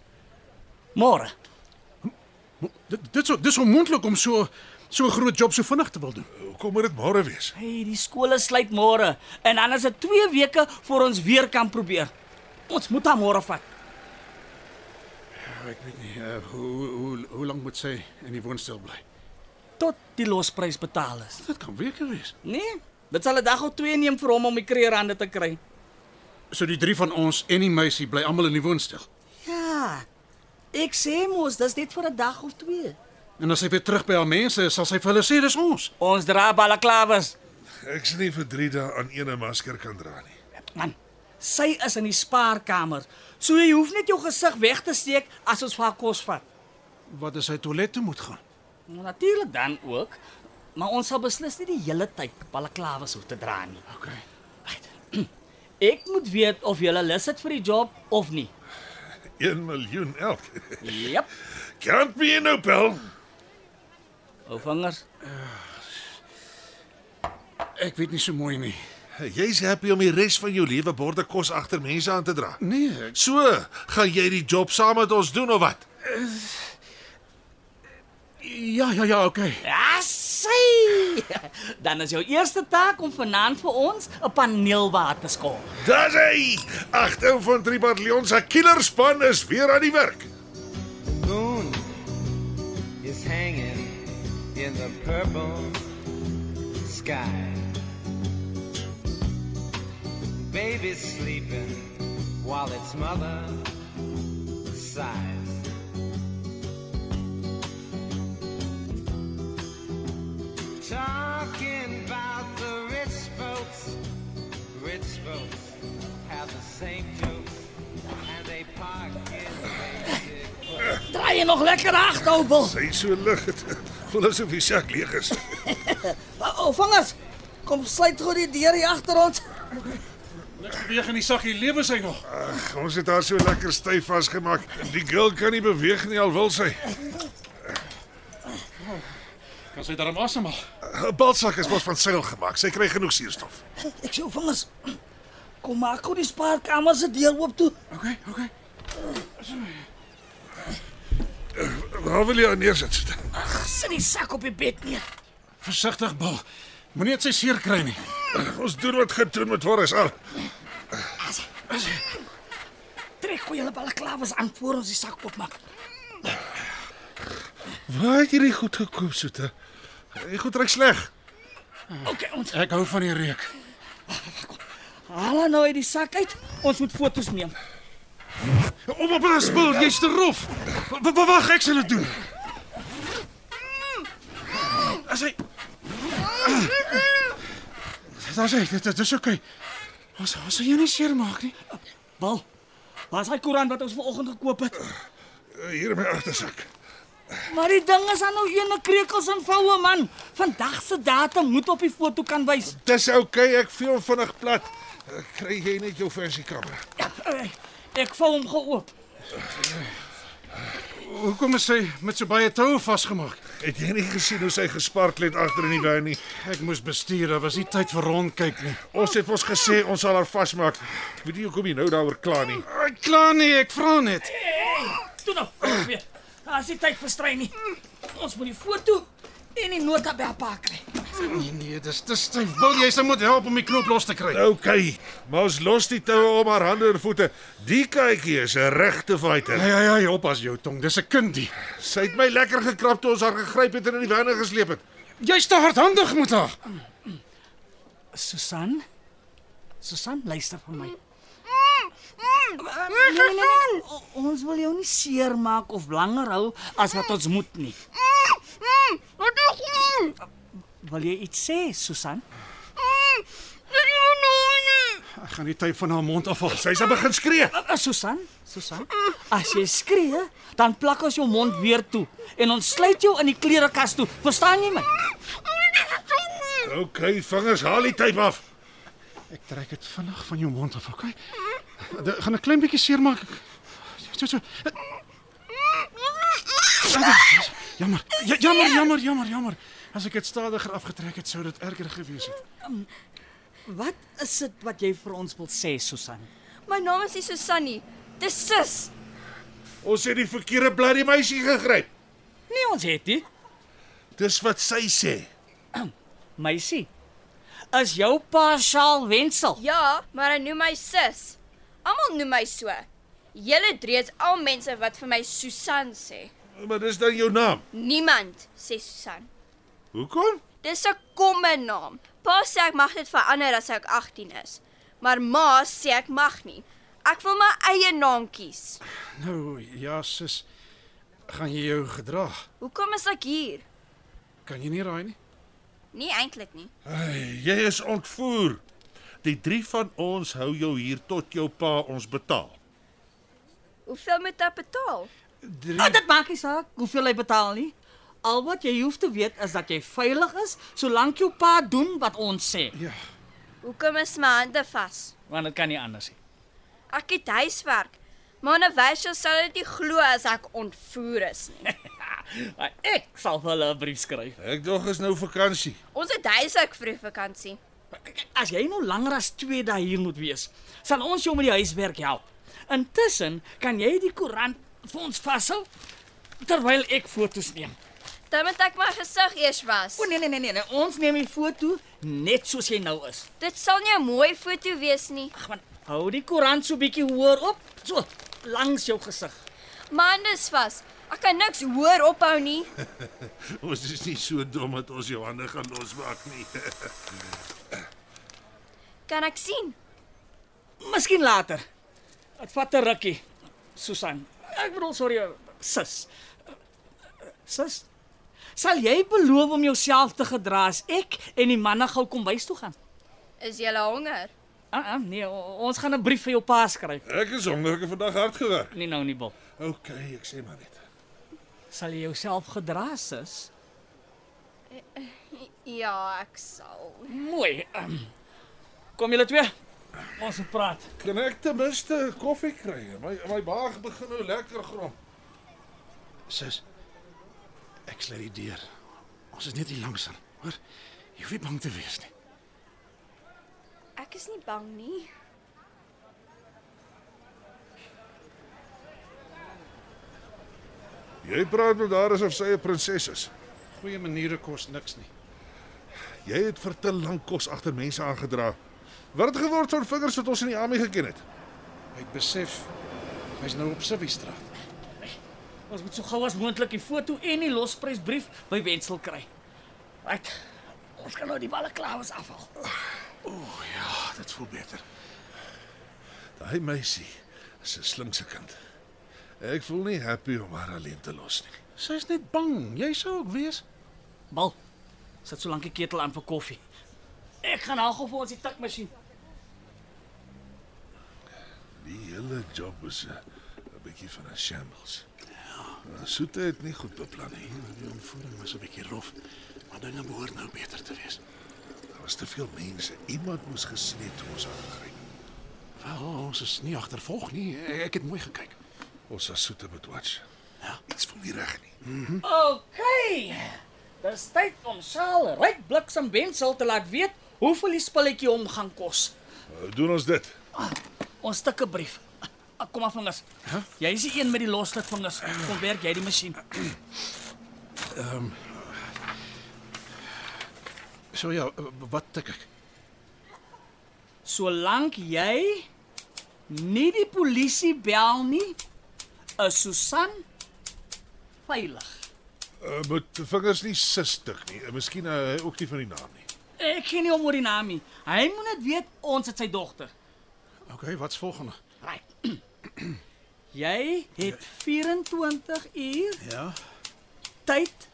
Speaker 6: Môre.
Speaker 3: Mo- Dit dit so dis onmoontlik om so so 'n groot job so vinnig te wil doen.
Speaker 4: Hoekom moet dit môre wees?
Speaker 6: Hey, die skole sluit môre en dan is dit 2 weke voor ons weer kan probeer. Ons moet hom môre vat.
Speaker 3: Ja, ek weet nie uh, hoe hoe hoe lank moet sy in die woonstel bly.
Speaker 6: tot die losprys betaal is.
Speaker 3: Dit kan weke wees.
Speaker 6: Nee, dit sal 'n dag of twee neem vir hom om die kreerande te kry.
Speaker 3: So die drie van ons en die meisie bly almal in die woonstel.
Speaker 6: Ja. Ek sê mos, dis net vir 'n dag of twee.
Speaker 3: En as sy weer terug by haar mense is, sal sy vir hulle sê dis ons.
Speaker 6: Ons dra balaklavas.
Speaker 4: Ek sien nie vir 3 dae aan een 'n masker kan dra nie.
Speaker 6: Man, sy is in die spaarkamer. So jy hoef net jou gesig weg te steek as ons vir haar kos vat.
Speaker 3: Wat as sy toilet toe moet gaan?
Speaker 6: Nou, Natuurlik dan ook, maar ons sal beslis nie die hele tyd balaklavas hoef te dra nie.
Speaker 3: OK.
Speaker 6: (clears throat) Ek moet weet of jy lus het vir die job of nie.
Speaker 4: 1 miljoen elk. (laughs)
Speaker 6: Jep.
Speaker 4: Can't be in Opel.
Speaker 6: Ou vingers.
Speaker 3: Ek weet nie so mooi nie.
Speaker 4: Jy's happy om die res van jou lewe borde kos agter mense aan te dra.
Speaker 3: Nee, ek,
Speaker 4: So, gaan jy die job saam met ons doen of wat?
Speaker 3: ja ja ja, OK.
Speaker 6: Ja, sien. (laughs) Dan is jou eerste taak om vanaand vir ons 'n paneel water te skoon.
Speaker 4: Dis hy. Agter van 3 bataljon se killerspan is weer aan die werk.
Speaker 5: moon is hanging in the purple sky. Baby's sleeping while its mother sighs. Talking about the rich folks, rich folks have the same jokes, and they park in basic.
Speaker 6: Draai jy nog lekker ag, Obel.
Speaker 4: Sy so lig. (laughs) Voel asof die sak leeg is.
Speaker 6: O, vingers. Kom sluit gou die deur hier agter ons.
Speaker 3: Niks beweeg in die saggie lewe sy nog.
Speaker 4: Ag, ons het haar so lekker styf vasgemaak. Die girl kan nie beweeg nie al wil sy.
Speaker 3: Kan sy darm asemhaal?
Speaker 4: 'n Balsak is mos van seil gemaak. Sy kry genoeg suurstof.
Speaker 6: Ek sê, o, vingers. Kom maak gou die spaarkamer se deur oop toe.
Speaker 3: OK, OK.
Speaker 4: Waar wil jy aan neersit?
Speaker 6: Sit die sak op die bed nee. neer.
Speaker 3: Versigtig, Bil. Oh, Moenie dit sy seer kry nie.
Speaker 4: Ons doen wat gedoen moet word is al.
Speaker 6: Trek gou julle balaklavas aan voor ons die sak oopmaak.
Speaker 4: Waar het jy dit goed gekoop soete? Jy goed reuk sleg.
Speaker 6: OK, ons
Speaker 3: Ek hou van die reuk.
Speaker 6: haal haar nou uit die sak uit. Ons moet fotos neem.
Speaker 3: Om op 'n spul, jy's te rof. W- w- Wag, ek sal dit doen. As hy Daar's hy. Dit, dit is oukei. Ons ons sal jou nie seermaak nie.
Speaker 6: Wel. Waar's daai koerant wat ons vanoggend gekoop het?
Speaker 4: Eh, Hier in my agtersak.
Speaker 6: Maar die ding is aan nou ene krekels en voue man. Vandag se datum moet op die foto kan wys.
Speaker 4: Dis oukei, ek veel vinnig plat. Eh, Kry jy net jou versie kamera.
Speaker 6: Eh, Ek vou hom geoop.
Speaker 3: Hoekom is hy met so baie toue vasgemaak?
Speaker 4: Het jy nie gesien hoe sy gesparkel het agter in die wyn nie?
Speaker 3: Ek moes bestuur, daar was nie tyd vir rondkyk nie.
Speaker 4: Ons het ons gesê ons sal haar vasmaak. Ek weet nie hoekom jy nou daaroor kla nie.
Speaker 3: Ek klaar nie, ek vra net.
Speaker 6: Toe nou. kom weer. Daar's nie tyd vir strei nie. Ons moet die foto en die nota by pak kry.
Speaker 3: Nee nee, dis te styf. Wil jy se moet help om die knoop los te kry?
Speaker 4: OK, maar ons los die toue om haar hande en voete. Die kykie is 'n regte fighter.
Speaker 3: Ja ja ja, oppas jou tong. Dis 'n kindie.
Speaker 4: Sy het my lekker gekrap toe ons haar gegryp het en in die wynne gesleep het.
Speaker 3: Jy's te hardhandig met haar.
Speaker 6: Susan? Susan, luister vir my.
Speaker 7: Nee,
Speaker 6: Nee, nee, nee, nee. O- Ons wil jou nie seermaak of langer hou as wat ons moet nie.
Speaker 7: Wat is dit?
Speaker 6: Wil jy iets sê, Susan?
Speaker 7: Dit is nou nie.
Speaker 3: Ek gaan die tyd van haar mond afhaal.
Speaker 4: Sy sal begin skree.
Speaker 6: Uh, Susan, Susan, as jy skree, dan plak ons jou mond weer toe en ons sluit jou in die klerekas toe. Verstaan jy my?
Speaker 4: OK, vingers haal die tape af.
Speaker 3: Ek trek dit vinnig van jou mond af, okay? Dit gaan 'n klein bietjie seermaak. So so. Jammer. Ja, jammer, jammer, jammer, jammer. As ek dit stadiger afgetrek het, sou dit erger gewees het.
Speaker 6: Wat is dit wat jy vir ons wil sê, Susan?
Speaker 2: My naam is nie Susannie. Dis sis.
Speaker 4: Ons het die verkeerde bloody meisie gegryp.
Speaker 6: Nee, ons het nie.
Speaker 4: Dis wat sy sê.
Speaker 6: Meisie, as jou pa Shaal wensel.
Speaker 2: Ja, maar hy noem my sis. Almal noem my so. Julle drie is al mense wat vir my Susan sê.
Speaker 4: Maar dis dan jou naam.
Speaker 2: Niemand sê Susan.
Speaker 4: Hoekom?
Speaker 2: Dis 'n komme naam. Pa sê ek mag dit verander as ek 18 is, maar ma sê ek mag nie. Ek wil my eie naam kies.
Speaker 3: Nou, ja, sis. Gaan jy jou gedra?
Speaker 2: Hoekom is ek hier?
Speaker 3: Kan jy nie raai nie?
Speaker 2: Nie eintlik nie.
Speaker 4: Ai, jy is ontvoer. Die drie van ons hou jou hier tot jou pa ons betaal.
Speaker 2: Hoeveel moet ek betaal?
Speaker 3: Drie...
Speaker 6: Ah, dit maak nie saak hoeveel hy betaal nie. Al wat jy hoef te weet is dat jy veilig is solank jou pa doen wat ons sê.
Speaker 3: Ja.
Speaker 2: Hoekom is my hande vas?
Speaker 6: Want dit kan nie anders nie. (laughs)
Speaker 2: Ek het huiswerk. Maar nou wys jy sal dit nie glo as ek ontvoer is nie.
Speaker 6: Maar Ek sal vir hulle 'n brief skryf.
Speaker 4: Ek dog is nou vakansie.
Speaker 2: Ons het huiswerk vir die vakansie.
Speaker 6: Kyk, As jy nou langer as 2 dae hier moet wees, sal ons jou met die huiswerk help. Intussen kan jy die koerant vir ons vashou terwyl ek fotos neem.
Speaker 2: Dan moet ek my gesig eers was.
Speaker 6: O nee nee nee nee, nee, ons neem die foto net soos jy nou is.
Speaker 2: Dit sal nie 'n mooi foto wees nie.
Speaker 6: Ag man, hou die koerant so bietjie hoër op, so langs jou gesig.
Speaker 2: My hande is vas. Ek kan niks hoor ophou nie.
Speaker 4: (laughs) Ons is nie so dom dat ons jou hande gaan losmaak nie.
Speaker 2: Kan ek sien?
Speaker 6: Miskien later. Dit vat 'n rukkie. Susan, ek bedoel sorry, sis. Sis, sal jy beloof om jouself te gedra as ek en die manne gou kom bys toe gaan?
Speaker 2: Is jy honger?
Speaker 6: Ah, ah nee, o- ons gaan 'n brief vir jou pa skryf.
Speaker 4: Ek is honger, ek het vandag hard gewerk.
Speaker 6: Nee nou nie, Bob.
Speaker 4: OK, ek sê maar net.
Speaker 6: Sal jy jouself gedra, sis?
Speaker 2: Ja, ek sal.
Speaker 6: Mooi. ehm. Kom julle twee. Ons moet praat.
Speaker 4: Kan ek ten minste koffie kry? My my maag begin nou lekker grom.
Speaker 3: Sis. Ek sluit die deur. Ons is net hier langs aan, hoor? Jy hoef nie bang te wees nie.
Speaker 2: Ek is nie bang nie.
Speaker 4: Jy praat met haar asof sy 'n prinses is.
Speaker 3: Goeie maniere kos niks nie.
Speaker 4: Jy het vir te lank kos agter mense aangedra. Wat het geword van vingers wat ons in die army geken het?
Speaker 3: Hy het besef hy's nou op Sibby straat.
Speaker 6: Ons moet so gou as moontlik die foto en die losprysbrief by Wenzel kry. Right. Ons kan nou die balle klaar ons afhaal.
Speaker 4: Ah, dit voel beter. Daai meisie is 'n slinkse kind. Ek voel nie happy om haar alleen te los nie.
Speaker 3: Sy's net bang. Jy sou ook wees.
Speaker 6: Bal. Sit so lank die ketel aan vir koffie. Ek gaan haal gou vir ons die tikmasjien.
Speaker 4: Die hele job is 'n 'n bietjie van 'n shambles. Ja, soete het nie goed beplan nie.
Speaker 3: Ja, Die ontvoering was 'n bietjie rof, maar dinge behoort nou beter te wees.
Speaker 4: Daar was te veel mense. Iemand moes gesien het hoe ons aangryp.
Speaker 3: Wel, ons is nie agtervolg nie. Ek ek het mooi gekyk.
Speaker 4: Ons was soete betwats. Ja, iets voel nie reg nie.
Speaker 6: OK. Dis tyd om Saal ryk bliksem wensel te laat weet hoeveel die spulletjie hom gaan kos.
Speaker 4: Nou doen ons dit.
Speaker 6: Ons stukke brief. Ah, Kom maar vingers. Huh? Jy is die een met die losste vingers. Kom werk jy die masjien.
Speaker 3: So ja, wat tik ek?
Speaker 6: Solank jy nie die polisie bel nie, is Susan veilig.
Speaker 4: Uh, moet vingers nie sistig nie. Uh, Miskien uh, ook nie van die naam nie.
Speaker 6: Ek ken nie hom oor die naam nie. Hy moet net weet ons het sy dogter.
Speaker 3: OK, wat's volgende?
Speaker 6: Right. Jy het 24 uur
Speaker 3: Ja.
Speaker 6: tyd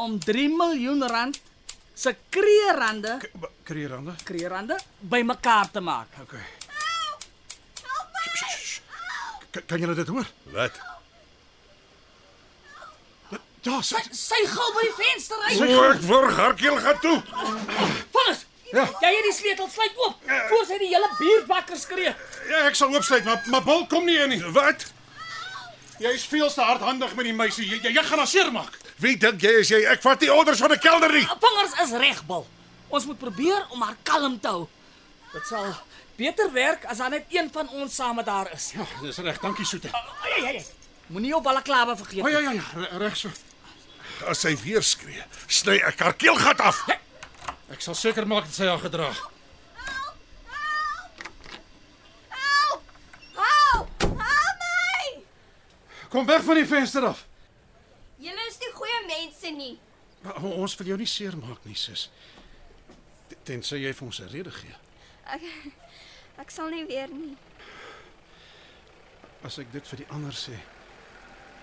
Speaker 6: om 3 miljoen rand se kreerande,
Speaker 3: Kreerande.
Speaker 6: kreerande bymekaar te maak.
Speaker 3: OK. K- Kan julle dit hoor?
Speaker 4: Wat?
Speaker 3: Ja, sy.
Speaker 6: Sy gou by die venster uit.
Speaker 4: Ek word hartjeel gaan toe.
Speaker 6: Vinnig. Ja. Jy het die sleutel sluit oop voor sy die hele buurt wakker skree.
Speaker 3: Ja, ek sal oopsluit, maar maar Bul kom nie in nie.
Speaker 4: Wat?
Speaker 3: Jy's veel te hardhandig met die meisie. Jy jy, jy gaan haar seermaak.
Speaker 4: Wie dink jy is jy? Ek vat nie orders van 'n kelder nie.
Speaker 6: Vingers is regbal. Ons moet probeer om haar kalm te hou. Dit sal beter werk as daar net een van ons saam met haar is. Ah,
Speaker 3: Ja, dis reg. Dankie, Soete.
Speaker 6: Ai ai ai. Moenie jou balaklava vergeet.
Speaker 3: O ja ja ja, re- reg so.
Speaker 4: As sy weer skree, sny ek haar keelgat af.
Speaker 3: Ek sal seker maak dat sy haar gedra.
Speaker 2: Help! Help! Help my!
Speaker 3: Kom weg van die venster af.
Speaker 2: Julle is nie goeie mense nie.
Speaker 3: Maar o- ons wil jou nie seermaak nie, sis. T- Tensy jy vir ons 'n rede gee.
Speaker 2: Ek ek sal nie weer nie.
Speaker 3: As ek dit vir die ander sê,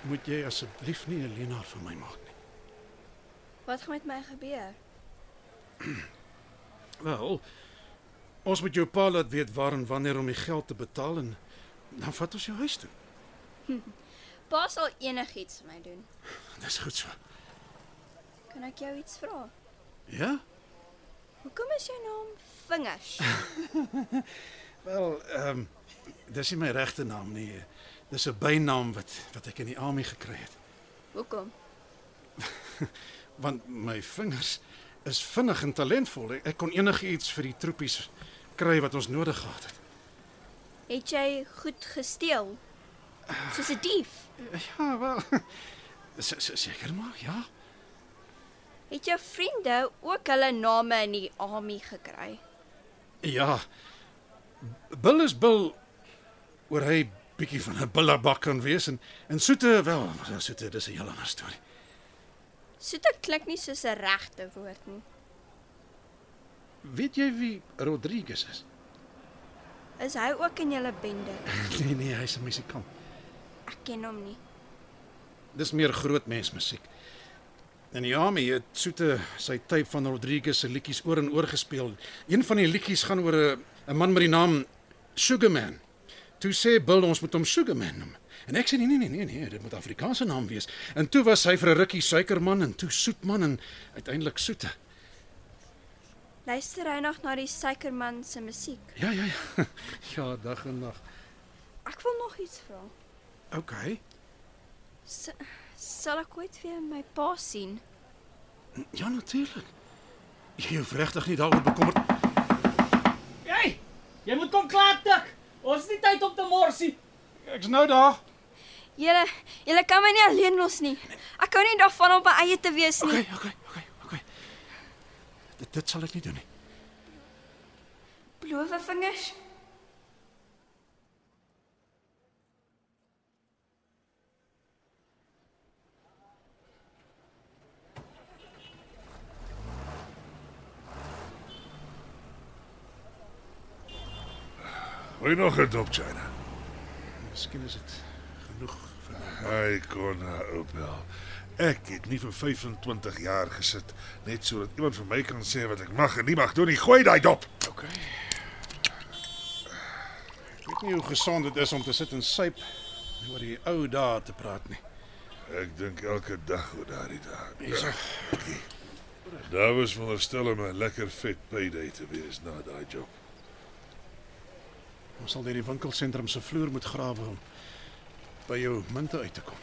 Speaker 3: moet jy asseblief nie 'n lenaar van my maak nie.
Speaker 2: Wat gaan met my gebeur?
Speaker 3: Wel, ons moet jou pa laat weet waar en wanneer om die geld te betaal en dan vat ons jou huis toe.
Speaker 2: Pa sal enigiets vir my doen.
Speaker 3: Dis goed so.
Speaker 2: Kan ek jou iets vra?
Speaker 3: Ja?
Speaker 2: Hoekom is jou naam Vingers?
Speaker 3: Wel, ehm um, dis nie my regte naam nie. Nou, Dis 'n bynaam wat wat ek in die army gekry het.
Speaker 2: (laughs) Hoekom?
Speaker 3: want my vingers is vinnig en talentvol. Ek, ek kon enigiets vir die troepies kry wat ons nodig gehad het.
Speaker 2: Het jy goed gesteel? Soos 'n dief.
Speaker 3: Ja, wel. (laughs) se- se- Seker maar, ja.
Speaker 2: Het jou vriende ook hulle name in die army gekry?
Speaker 3: Ja. Bill is Bill oor hy bietjie van 'n billabak kan wees en en soete wel, soete dis 'n heel ander storie.
Speaker 2: Soete klink nie soos 'n regte woord nie.
Speaker 3: Weet jy wie Rodriguez is? (laughs)
Speaker 2: Is hy ook in julle bende?
Speaker 3: nee nee, hy's 'n musikant.
Speaker 2: Ek ken hom nie.
Speaker 3: Dis meer groot mens musiek. En ja, my het soete sy tipe van Rodriguez se liedjies oor en oor gespeel. Een van die liedjies gaan oor 'n 'n man met die naam Sugarman. Toe sê Bill ons moet hom Sugarman noem. En ek sê nee nee nee nee nee, dit moet Afrikaanse naam wees. En toe was hy vir 'n rukkie suikerman en toe soetman en uiteindelik soete.
Speaker 2: Luister hy nog na die suikerman se musiek?
Speaker 3: Ja ja ja. (laughs) Ja, dag en nag.
Speaker 2: Ek wil nog iets vra.
Speaker 3: OK.
Speaker 2: S- Sal ek ooit weer my pa sien?
Speaker 3: Ja natuurlik. Jy hoef regtig nie daaroor bekommerd.
Speaker 6: Hey, jy moet kom klaar tik. Ons het nie tyd om te morsie.
Speaker 3: Ek's nou daar.
Speaker 2: Julle, julle kan my nie alleen los nie. Ek hou nie daarvan om my eie te wees nie.
Speaker 3: OK, OK, OK, OK. Dit, dit sal ek nie doen nie.
Speaker 2: Belowe vingers.
Speaker 4: Hoe nog 'n dop China.
Speaker 3: Miskien is dit genoeg vir
Speaker 4: Hy kon haar opbel. Ek het nie vir 25 jaar gesit net sodat iemand vir my kan sê wat ek mag en nie mag doen nie. Gooi daai dop.
Speaker 3: OK. Ek weet nie hoe gesond dit is om te sit en suip en oor die ou dae te praat nie.
Speaker 4: Ek dink elke dag oor daardie dag. Ja. Daar was veronderstel om 'n lekker vet payday te wees na daai job.
Speaker 3: Ons sal deur die winkelsentrum se vloer moet grawe om by jou munte uit te kom.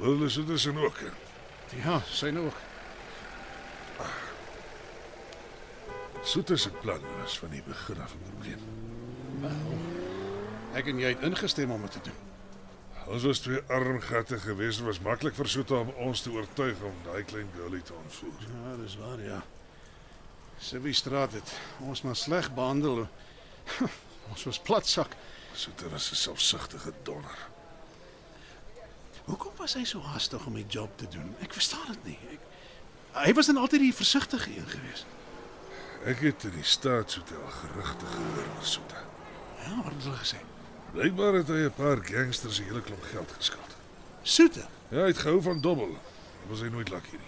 Speaker 4: Hulle sit dus in ook.
Speaker 3: Ja, syne ook.
Speaker 4: Soete se plan was van die begin af 'n probleem.
Speaker 3: Ek en jy het ingestem om dit te doen.
Speaker 4: Ons was twee armgatte gewees, dit was maklik vir Soete om ons te oortuig om daai klein girlie te ontvoer.
Speaker 3: Ja, dis waar ja. Sibby straat het ons maar sleg behandel. (laughs) ons was platsak.
Speaker 4: Soete was 'n selfsugtige donder.
Speaker 3: Hoekom was hy so haastig om die job te doen? Ek verstaan dit nie. Ek, hy was dan altyd die versigtige een gewees.
Speaker 4: Ek het in die staatshotel gerugte gehoor oor Soete.
Speaker 3: Ja, wat het hulle gesê?
Speaker 4: Blykbaar het hy 'n paar gangsters 'n hele klomp geld geskuld.
Speaker 3: Soete.
Speaker 4: Ja, hy het gehou van dobbel. Daar Was hy nooit lucky nie.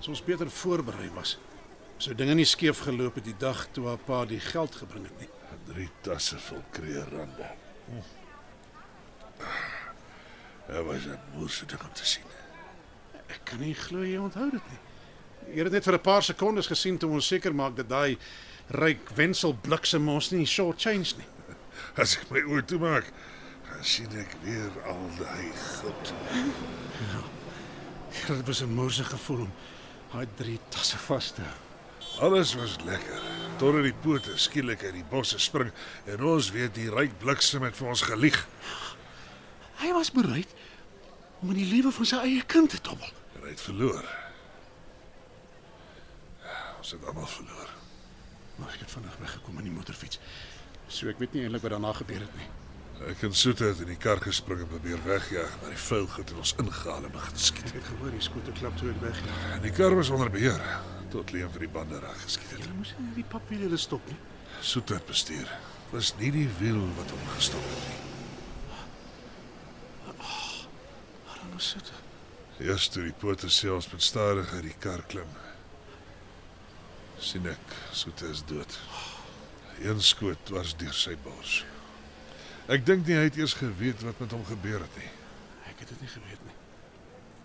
Speaker 3: As ons beter voorberei was, sou dinge nie skeef geloop het die dag toe haar pa die geld gebring het nie.
Speaker 4: Drie tasse vol kreerrande. Dit was 'n moeëse ding om te sien.
Speaker 3: Ek kan nie glo jy onthou dit nie. Jy het dit net vir 'n paar sekondes gesien toe ons seker maak dat daai ryk wensel bliksem ons nie short change nie.
Speaker 4: (laughs) As ek my oë toemaak, dan sien ek weer al daai
Speaker 3: (laughs)
Speaker 4: goud.
Speaker 3: Ja. Dit was 'n moeëse gevoel om daai drie tasse vas te hou.
Speaker 4: Alles was lekker. Totdat die pote skielik uit die bosse spring en ons weet die ryk bliksem het vir ons gelieg.
Speaker 3: Hy was bereid om in die lewe van sy eie kind te dobbel.
Speaker 4: En hy het verloor. Ons het almal verloor.
Speaker 3: Maar ek het vinnig weggekom in die motorfiets. So ek weet nie eintlik wat daarna gebeur het nie.
Speaker 4: Ek en Soete het in die kar gespring en probeer wegjaag, maar die vuil goed het ons ingehaal en begin skiet.
Speaker 3: Ek het gehoor die skote klap toe ek weggegaan.
Speaker 4: En die kar was onder beheer tot Leon vir die bande reg geskiet het.
Speaker 3: Ja, Jy moes nie die papwiele stop nie.
Speaker 4: Soet het bestuur. Was nie die wiel wat hom gestop het nie.
Speaker 3: Arme soete.
Speaker 4: Eers toe die pote selfs met stadig uit die kar klim. sien ek Soet is dood. Een skoot was deur sy bors. Ek dink nie hy het eers geweet wat met hom gebeur het nie.
Speaker 3: Ek het dit nie geweet nie.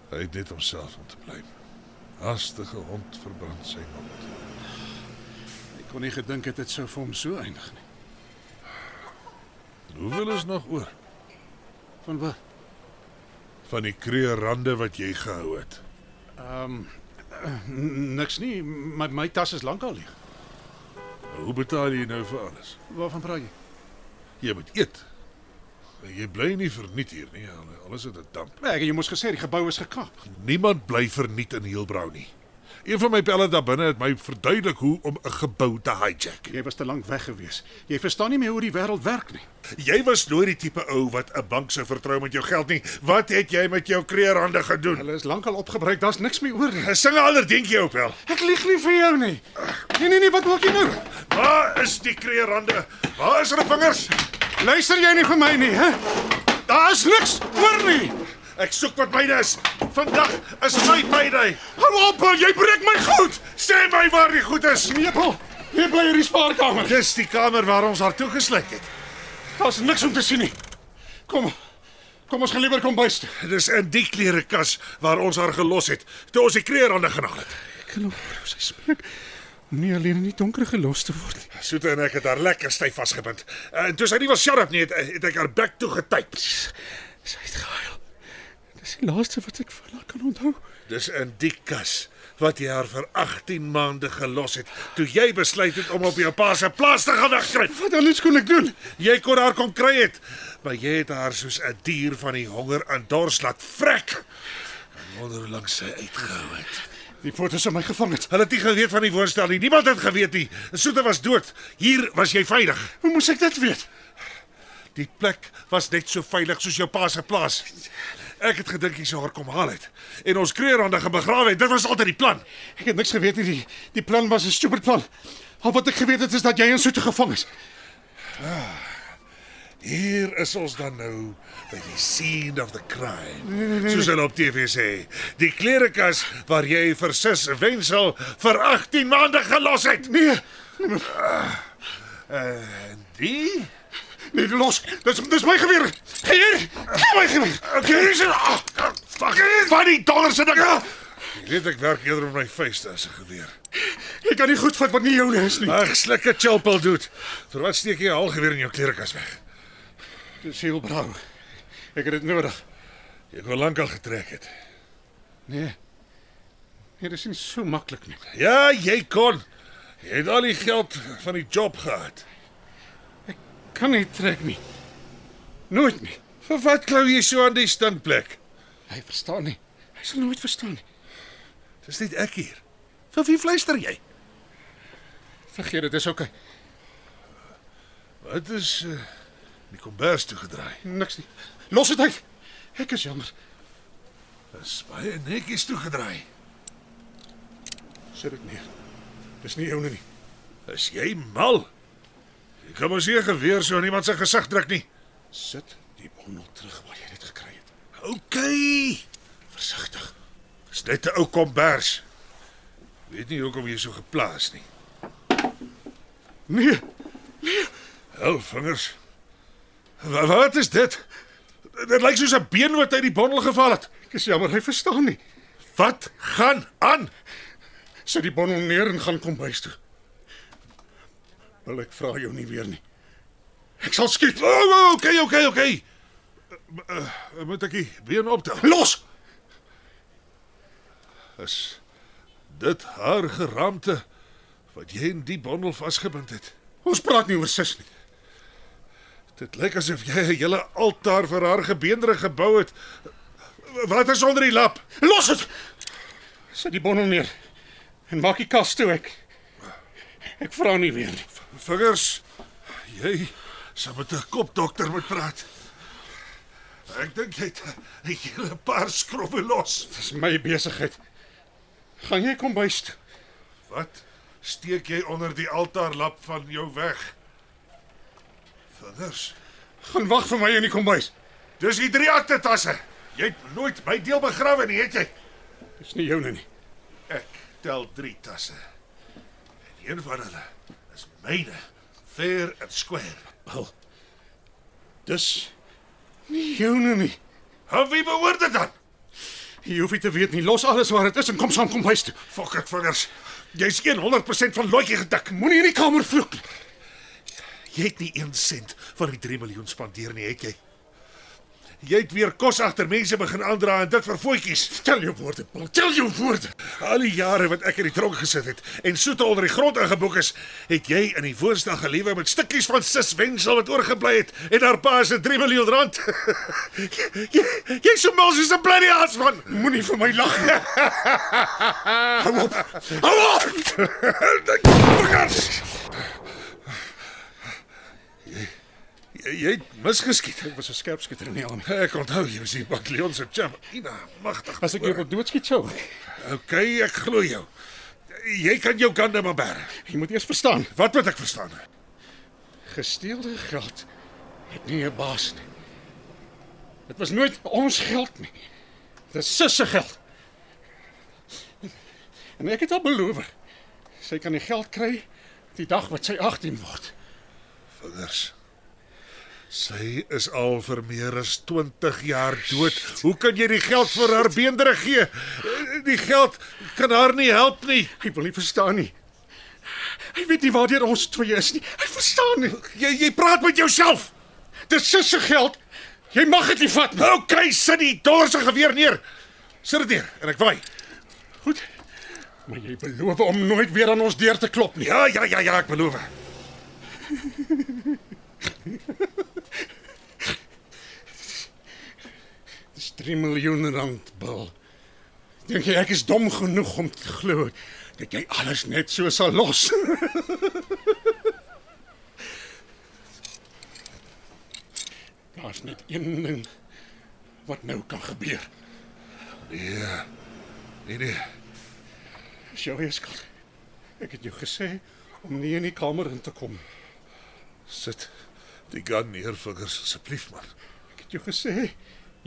Speaker 4: Hy het net homself om te bly. Hastige hond verbrand sy mond.
Speaker 3: Ek kon nie gedink het dit sou vir hom so eindig nie.
Speaker 4: Hoeveel is nog oor
Speaker 3: Van wat?
Speaker 4: van die kreerrande wat jy gehou het?
Speaker 3: N- Niks nie. My my tas is lankal leeg.
Speaker 4: Hoe betaal jy nou vir alles?
Speaker 3: Waarvan praat jy?
Speaker 4: Jy moet eet. En Jy bly nie verniet hier nie. al- Alles het 'n damp.
Speaker 3: Nee, ek het jou mos gesê die gebou is gekaap.
Speaker 4: Niemand bly verniet in Heilbrau nie. Een van my pelle daar binne het my verduidelik hoe om 'n gebou te hijack.
Speaker 3: Jy was te lank weg gewees. Jy verstaan nie meer hoe die wêreld werk nie.
Speaker 4: Jy was nooit die tipe ou wat 'n bank sou vertrou met jou geld nie. Wat het jy met jou kreerhande gedoen?
Speaker 3: Hulle is lankal opgebruik. Daar's niks meer oor nie.
Speaker 4: Sing alder dink jy op wel.
Speaker 3: Ek lieg nie vir jou nie. Nee nee nee, wat maak jy nou?
Speaker 4: Waar is die kreerhande? Waar is hulle vingers?
Speaker 3: Luister jy nie vir my nie, hè? Daar is niks oor nie.
Speaker 4: Ek soek wat myne is. Vandag is my payday. Hou op, jy breek my goed. Nee, Sê my waar die goed is.
Speaker 3: Nepel. Jy bly in die spaarkamer.
Speaker 4: Dis die kamer waar ons haar toegesluit het.
Speaker 3: Daar's niks om te sien nie. Kom. Kom ons gaan liewer kom bys. toe.
Speaker 4: Dis in die klerekas waar ons haar gelos het toe ons die kreerande genaal het.
Speaker 3: Ek kan nog hoor hoe sy spreek. Nie alleen in die donker gelos te word nie.
Speaker 4: Soete en ek het haar lekker styf vasgebind. En toe sy nie was sharp nie, het, het ek haar bek toe getyp.
Speaker 3: Sy het gehuil. Dis die laaste wat ek van haar kan onthou.
Speaker 4: Dis in die kas wat jy haar vir 18 maande gelos het toe jy besluit het om op jou pa se plaas te gaan ingryp.
Speaker 3: Wat anders kon ek doen?
Speaker 4: Jy kon haar kom kry het, maar jy het haar soos 'n dier van die honger aan dors laat vrek. Ek Wonder hoe lank sy uitgehou het.
Speaker 3: Die foto's in my gevang het.
Speaker 4: Hulle het nie geweet van die woonstel nie. Niemand het geweet nie. Soete was dood. Hier was jy veilig.
Speaker 3: Hoe moes ek dit weet?
Speaker 4: Die plek was net so veilig soos jou pa se plaas. Ek het gedink jy sou haar kom haal het en ons kreerande gebegrawe het. Dit was altyd die plan.
Speaker 3: Ek het niks geweet nie. Die, die plan was 'n stupid plan. Al wat ek geweet het is dat jy in soete gevang is.
Speaker 4: Ah, Hier is ons dan nou by die scene of the crime.
Speaker 3: Nee,
Speaker 4: Soos hulle op TV sê, die klerekas waar jy vir sis Wensel vir 18 maande gelos het. Nee. Uh, die
Speaker 8: Nee, los. Dis dis my geweer. Hier. Gee my geweer.
Speaker 4: Okay, dis ah, ah, fuck. Van die dollar se ding. Jy weet Ja. ek werk eerder met my vuiste as 'n geweer.
Speaker 8: Ek kan nie goed vat wat nie joune is nie.
Speaker 4: Ag, slikke chopel doet. Vir wat steek jy al geweer in jou klerekas weg?
Speaker 8: Dis heel brau. Ek het dit nodig.
Speaker 4: Jy het wel lank al getrek het.
Speaker 8: Nee. Nee, dis nie so maklik nie.
Speaker 4: Ja, jy kon. Jy het al die geld van die job gehad.
Speaker 8: Kan nie trek nie. Nooit nie.
Speaker 4: Vir wat klou jy so aan die stinkplek?
Speaker 8: Hy verstaan nie. Hy sal nooit verstaan nie.
Speaker 4: Dis net ek hier. Vir wie fluister jy?
Speaker 8: Vergeet dit, dis oukei. Okay.
Speaker 4: Wat is uh, die kombers toe gedraai?
Speaker 8: Niks nie. Los dit uit. Ek is jammer.
Speaker 4: Dis baie netjies toe gedraai.
Speaker 8: Sit dit neer. Dis nie joune nie.
Speaker 4: Is jy mal? Jy kan mos nie 'n geweer so aan iemand se gesig druk nie.
Speaker 8: Sit die bondel terug waar jy dit gekry het.
Speaker 4: OK.
Speaker 8: Versigtig.
Speaker 4: Dis net 'n ou kombers. Weet nie hoekom jy so geplaas nie.
Speaker 8: Nee,
Speaker 4: Hou vingers. Wa- Wat is dit? Dit lyk soos 'n been wat uit die bondel geval het.
Speaker 8: ek is jammer, hy verstaan nie.
Speaker 4: Wat gaan aan?
Speaker 8: Sit die bondel neer en gaan kom huis toe. Wil ek vra jou nie weer nie. Ek sal skiet.
Speaker 4: O, oh, okay, okay, okay. Uh, uh, moet ek die been optel?
Speaker 8: Los.
Speaker 4: Is dit haar geraamte wat jy in die bondel vasgebind het?
Speaker 8: Ons praat nie oor sis nie.
Speaker 4: Dit lyk asof jy 'n hele altaar vir haar gebeendere gebou het. Wat is onder die lap?
Speaker 8: Los dit. Sit die bondel neer en maak die kas toe ek. Ek vra nie weer nie.
Speaker 4: Vingers. Jy sal met 'n kopdokter moet praat. Ek dink jy het 'n hele paar skroppe los.
Speaker 8: Dis my besigheid. Gaan jy kom huis toe?
Speaker 4: Wat? Steek jy onder die altaarlap van jou weg? Vingers.
Speaker 8: Gaan wag vir my in die kombuis.
Speaker 4: Dis die drie akte tasse. Jy het nooit my deel begrawe nie, het jy?
Speaker 8: Dis nie joune nie.
Speaker 4: Ek tel drie tasse. En een van hulle is myne, fair and square.
Speaker 8: Wel. Dis nie joune nie.
Speaker 4: Hoe wie behoort dit dan?
Speaker 8: Jy hoef nie te weet nie. Los alles waar dit is en kom saam kom huis toe.
Speaker 4: Fok dit vingers. Jy's 100% van lotjie gedik.
Speaker 8: Moenie in die kamer vloek. nie.
Speaker 4: Jy het nie 1 sent van die 3 miljoen spandeer nie, het jy? Jy het weer kos agter mense begin aandra en dit vir voetjies.
Speaker 8: Tel jou woorde, Paul. Tel jou woorde.
Speaker 4: Al die jare wat ek in die tronk gesit het en soete onder die grond ingeboek is, het jy in die woonstel gelewe met stukkies van sis Wensel wat oorgebly het en haar pa se 3 miljoen rand. (laughs) Jy- jy jy's so mal soos 'n bloody ass man.
Speaker 8: Moenie vir my lag
Speaker 4: (laughs)
Speaker 8: nie.
Speaker 4: Hou op. Hou op. Dik vingers. Jy jy het misgeskiet.
Speaker 8: Ek was 'n skerpskieter in die army.
Speaker 4: Ek onthou jy was die bataljon se champ. Ina, magtig.
Speaker 8: As ek jou wil doodskiet sou.
Speaker 4: Okay, ek glo jou. Jy kan jou kande maar berg.
Speaker 8: (laughs) Jy moet eers verstaan.
Speaker 4: Wat moet ek verstaan?
Speaker 8: Gesteelde geld het nie 'n Nee, baas nie. Dit was nooit ons geld nie. Dit is sis se geld. En ek het haar beloof. Sy kan die geld kry die dag wat sy 18 word.
Speaker 4: vingers. Sy is al vir meer as 20 jaar dood. Hoe kan jy die geld vir haar beendere gee? Die geld kan haar nie help nie.
Speaker 8: Hy wil nie verstaan nie. Hy weet nie waartoe ons twee is nie. Hy verstaan nie.
Speaker 4: Jy jy praat met jouself.
Speaker 8: Dis sis se geld. Jy mag dit nie vat nie.
Speaker 4: OK, sit die dorse geweer neer. Sit dit neer en ek waai.
Speaker 8: Goed. Maar jy beloof om nooit weer aan ons deur te klop nie.
Speaker 4: Ja, ja, ja, ja, ek beloof.
Speaker 8: (laughs) Dis 3 miljoen rand bil. Dink jy ek is dom genoeg om te glo dat jy alles net so sal los? Daar's net een ding wat nou kan gebeur.
Speaker 4: Nee. Nee nee.
Speaker 8: Dis jou eie skuld. Ek het jou gesê om nie in die kamer in te kom.
Speaker 4: Sit.
Speaker 9: Die gun neer vingers asseblief man.
Speaker 8: Ek het jou gesê,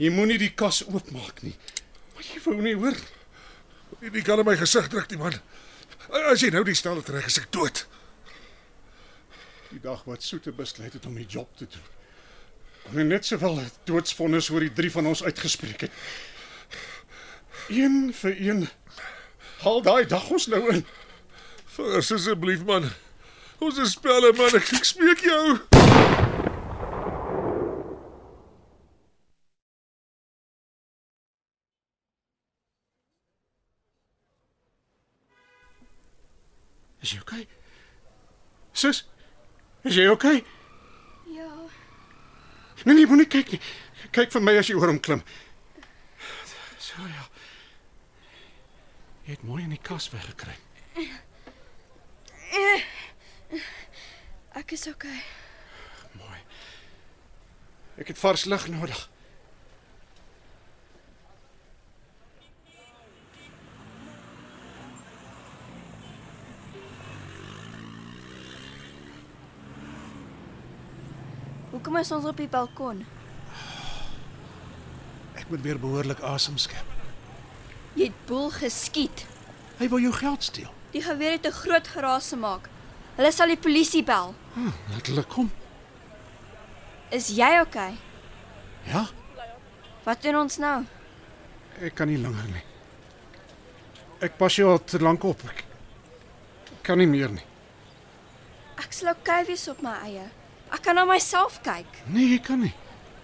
Speaker 8: jy moenie die kas oopmaak nie. Maar jy wou nie hoor.
Speaker 9: Nie die kan in my gesig druk nie man. As jy nou die stel trek is ek dood.
Speaker 8: Die dag wat Soete besluit het om die job te doen. Kon hy net sowel 'n doodsvonnis oor die drie van ons uitgespreek het. Een vir een. Haal daai dag ons nou in.
Speaker 9: Vingers asseblief man. Ons is spelle man, ek, ek smeek jou.
Speaker 8: Is jy okay? Sis, is jy okay?
Speaker 2: Ja,
Speaker 8: Nee nee, moenie kyk nie. Kyk vir my as jy oor hom klim. So ja. Jy het mooi in die kas weggekry.
Speaker 2: ek is okay.
Speaker 8: Mooi. Ek het vars lug nodig.
Speaker 2: Hoekom is ons op die balkon?
Speaker 8: Ek moet weer behoorlik asem skep.
Speaker 2: Jy het boel geskiet.
Speaker 8: Hy wou jou geld steel.
Speaker 2: Die geweer het 'n groot geraas gemaak. Hulle sal die polisie bel.
Speaker 8: Hm, Laat hulle kom.
Speaker 2: Is jy okay?
Speaker 8: Ja,
Speaker 2: Wat doen ons nou?
Speaker 8: ek kan nie langer nie. Ek pas jou al te lank op. Ek ek kan nie meer nie.
Speaker 2: Ek sal okay wees op my eie. Ek kan na myself kyk.
Speaker 8: Nee, jy kan nie.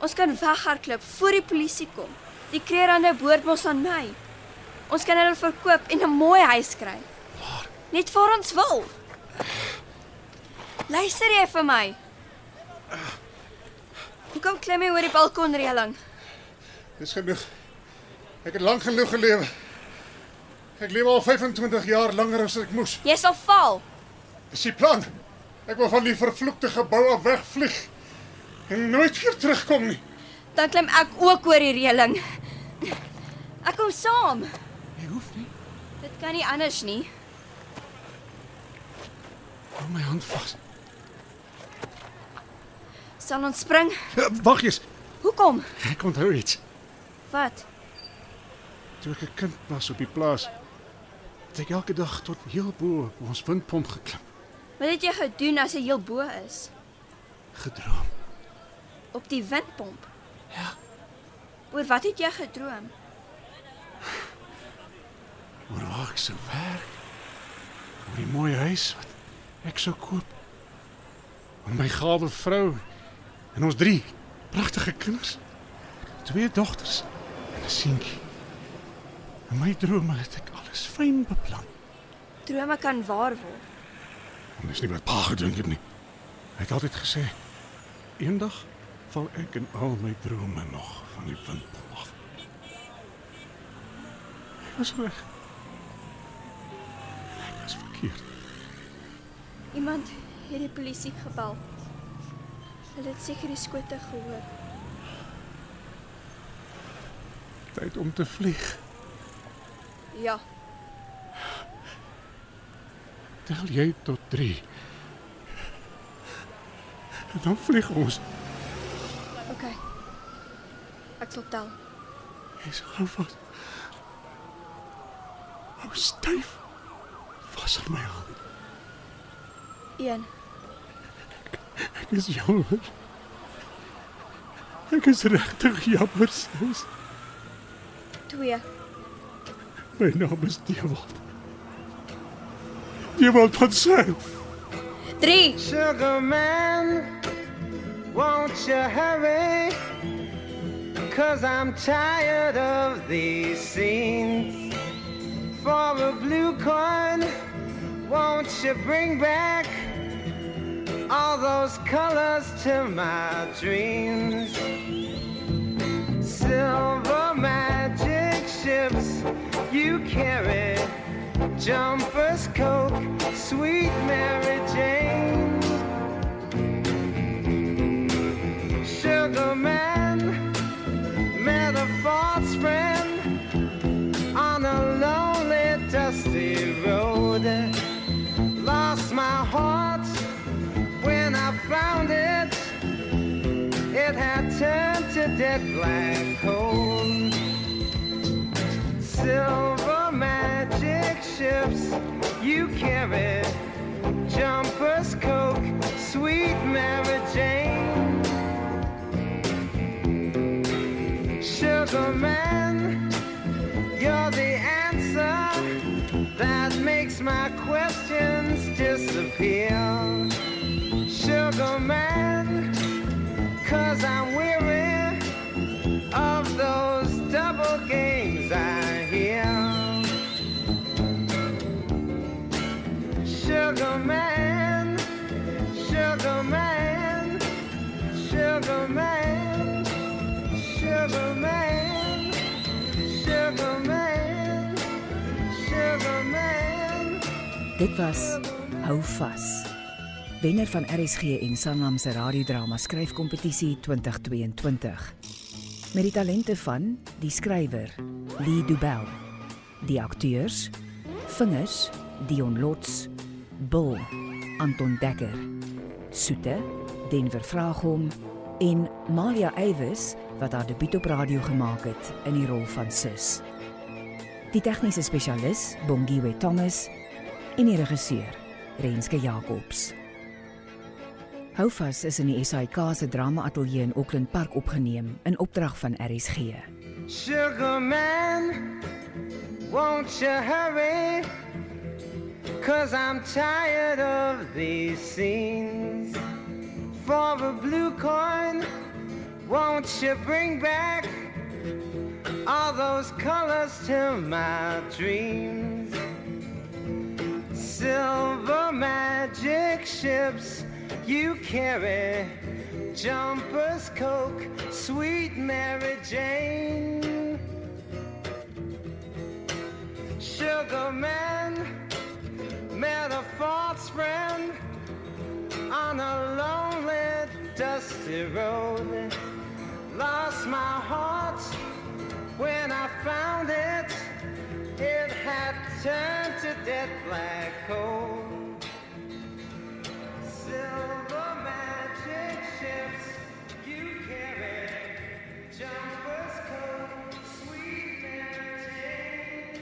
Speaker 2: Ons kan weghardloop voor die polisie kom. Die kreerande behoort mos aan my. Ons kan hulle verkoop en 'n mooi huis kry. Waar? Net vir ons wil. Luister jy vir my? Hoekom klim jy oor die balkonreëling?
Speaker 8: Dis genoeg. Ek het lank genoeg gelewe. Ek lewe al 25 jaar langer as ek moes.
Speaker 2: Jy sal val.
Speaker 8: Dis die plan. Ek wil van die vervloekte gebou af wegvlieg en nooit weer terugkom nie.
Speaker 2: Dan klim ek ook oor die reëling. Ek kom saam.
Speaker 8: Jy hoef nie.
Speaker 2: Dit kan nie anders nie.
Speaker 8: Hou my hand vas.
Speaker 2: Sal ons spring?
Speaker 8: Wag eens.
Speaker 2: Hoekom?
Speaker 8: Ek onthou iets.
Speaker 2: Wat?
Speaker 8: Toe ek 'n kind was op die plaas, het ek elke dag tot heel bo op ons windpomp geklim,
Speaker 2: Wat het jy gedoen as jy heel bo is?
Speaker 8: gedroom.
Speaker 2: Op die windpomp? Ja. Oor wat het jy gedroom?
Speaker 8: Oor waar ek sou werk. Oor die mooi huis wat ek sou koop. Oor my gawe vrou en ons drie pragtige kinders. Twee dogters en 'n seuntjie. In my drome het ek alles fyn beplan.
Speaker 2: Drome kan waar word.
Speaker 8: En dis nie wat pa gedink het nie. Hy het altyd gesê, eendag val ek in al my drome nog van die windpomp af. Hy was reg. Ek was verkeerd.
Speaker 2: Iemand het die polisie gebel. Hulle het seker die skote gehoor.
Speaker 8: Tyd om te vlieg.
Speaker 2: Ja,
Speaker 8: Tel jy tot 3. En dan vlieg ons.
Speaker 2: okay. Ek sal tel.
Speaker 8: Hy's gou vas. Hou styf vas aan my hand.
Speaker 2: 1.
Speaker 8: Ek is jammer. Ek is regtig jammer, sis.
Speaker 2: 2.
Speaker 8: My naam is Dewald. Dewald van Sail.
Speaker 2: 3.
Speaker 5: Sugar man, won't you hurry? Cause I'm tired of these scenes. For a blue coin, won't you bring back all those colors to my dreams? Silver magic ships you carry jumpers, coke, sweet Mary Jane. Sugar man, met a false friend on a lonely, dusty road. Lost my heart when I found it. dead black hole. Silver magic ships you carried. Jumpers, Coke, sweet Mary Jane. Sugar man, you're the answer that makes my questions disappear. Sugar man, cause I'm weary of those double games I hear. Sugar man, sugar man, sugar man, sugar man, sugar man, sugar man.
Speaker 1: Dit was Hou vas. Wenner van RSG en Sanlam se radiodrama skryfkompetisie 2022. Met die talente van die skrywer Lee Dubel, die akteurs Vingers Dion Lots, Bill Anton Dekker, Soete Denver Vraghom en Malia Eywes wat haar debuut op radio gemaak het in die rol van Sis. Die tegniese spesialis Bongiwe Thomas en die regisseur Renske Jacobs. Houvas is in die SAIK se drama ateljee in Auckland Park opgeneem in opdrag van RSG.
Speaker 5: Sugar man, won't you hurry? Cause I'm tired of these scenes. For a blue coin, won't you bring back all those colors to my dreams? Silver magic ships you carry, jumpers, coke, sweet Mary Jane. Sugar man, met a false friend on a lonely, dusty road. Lost my heart when I found it. It had turned to dead black coal. Silver magic ships you carry. Jumpers coat, sweet Mary Jane.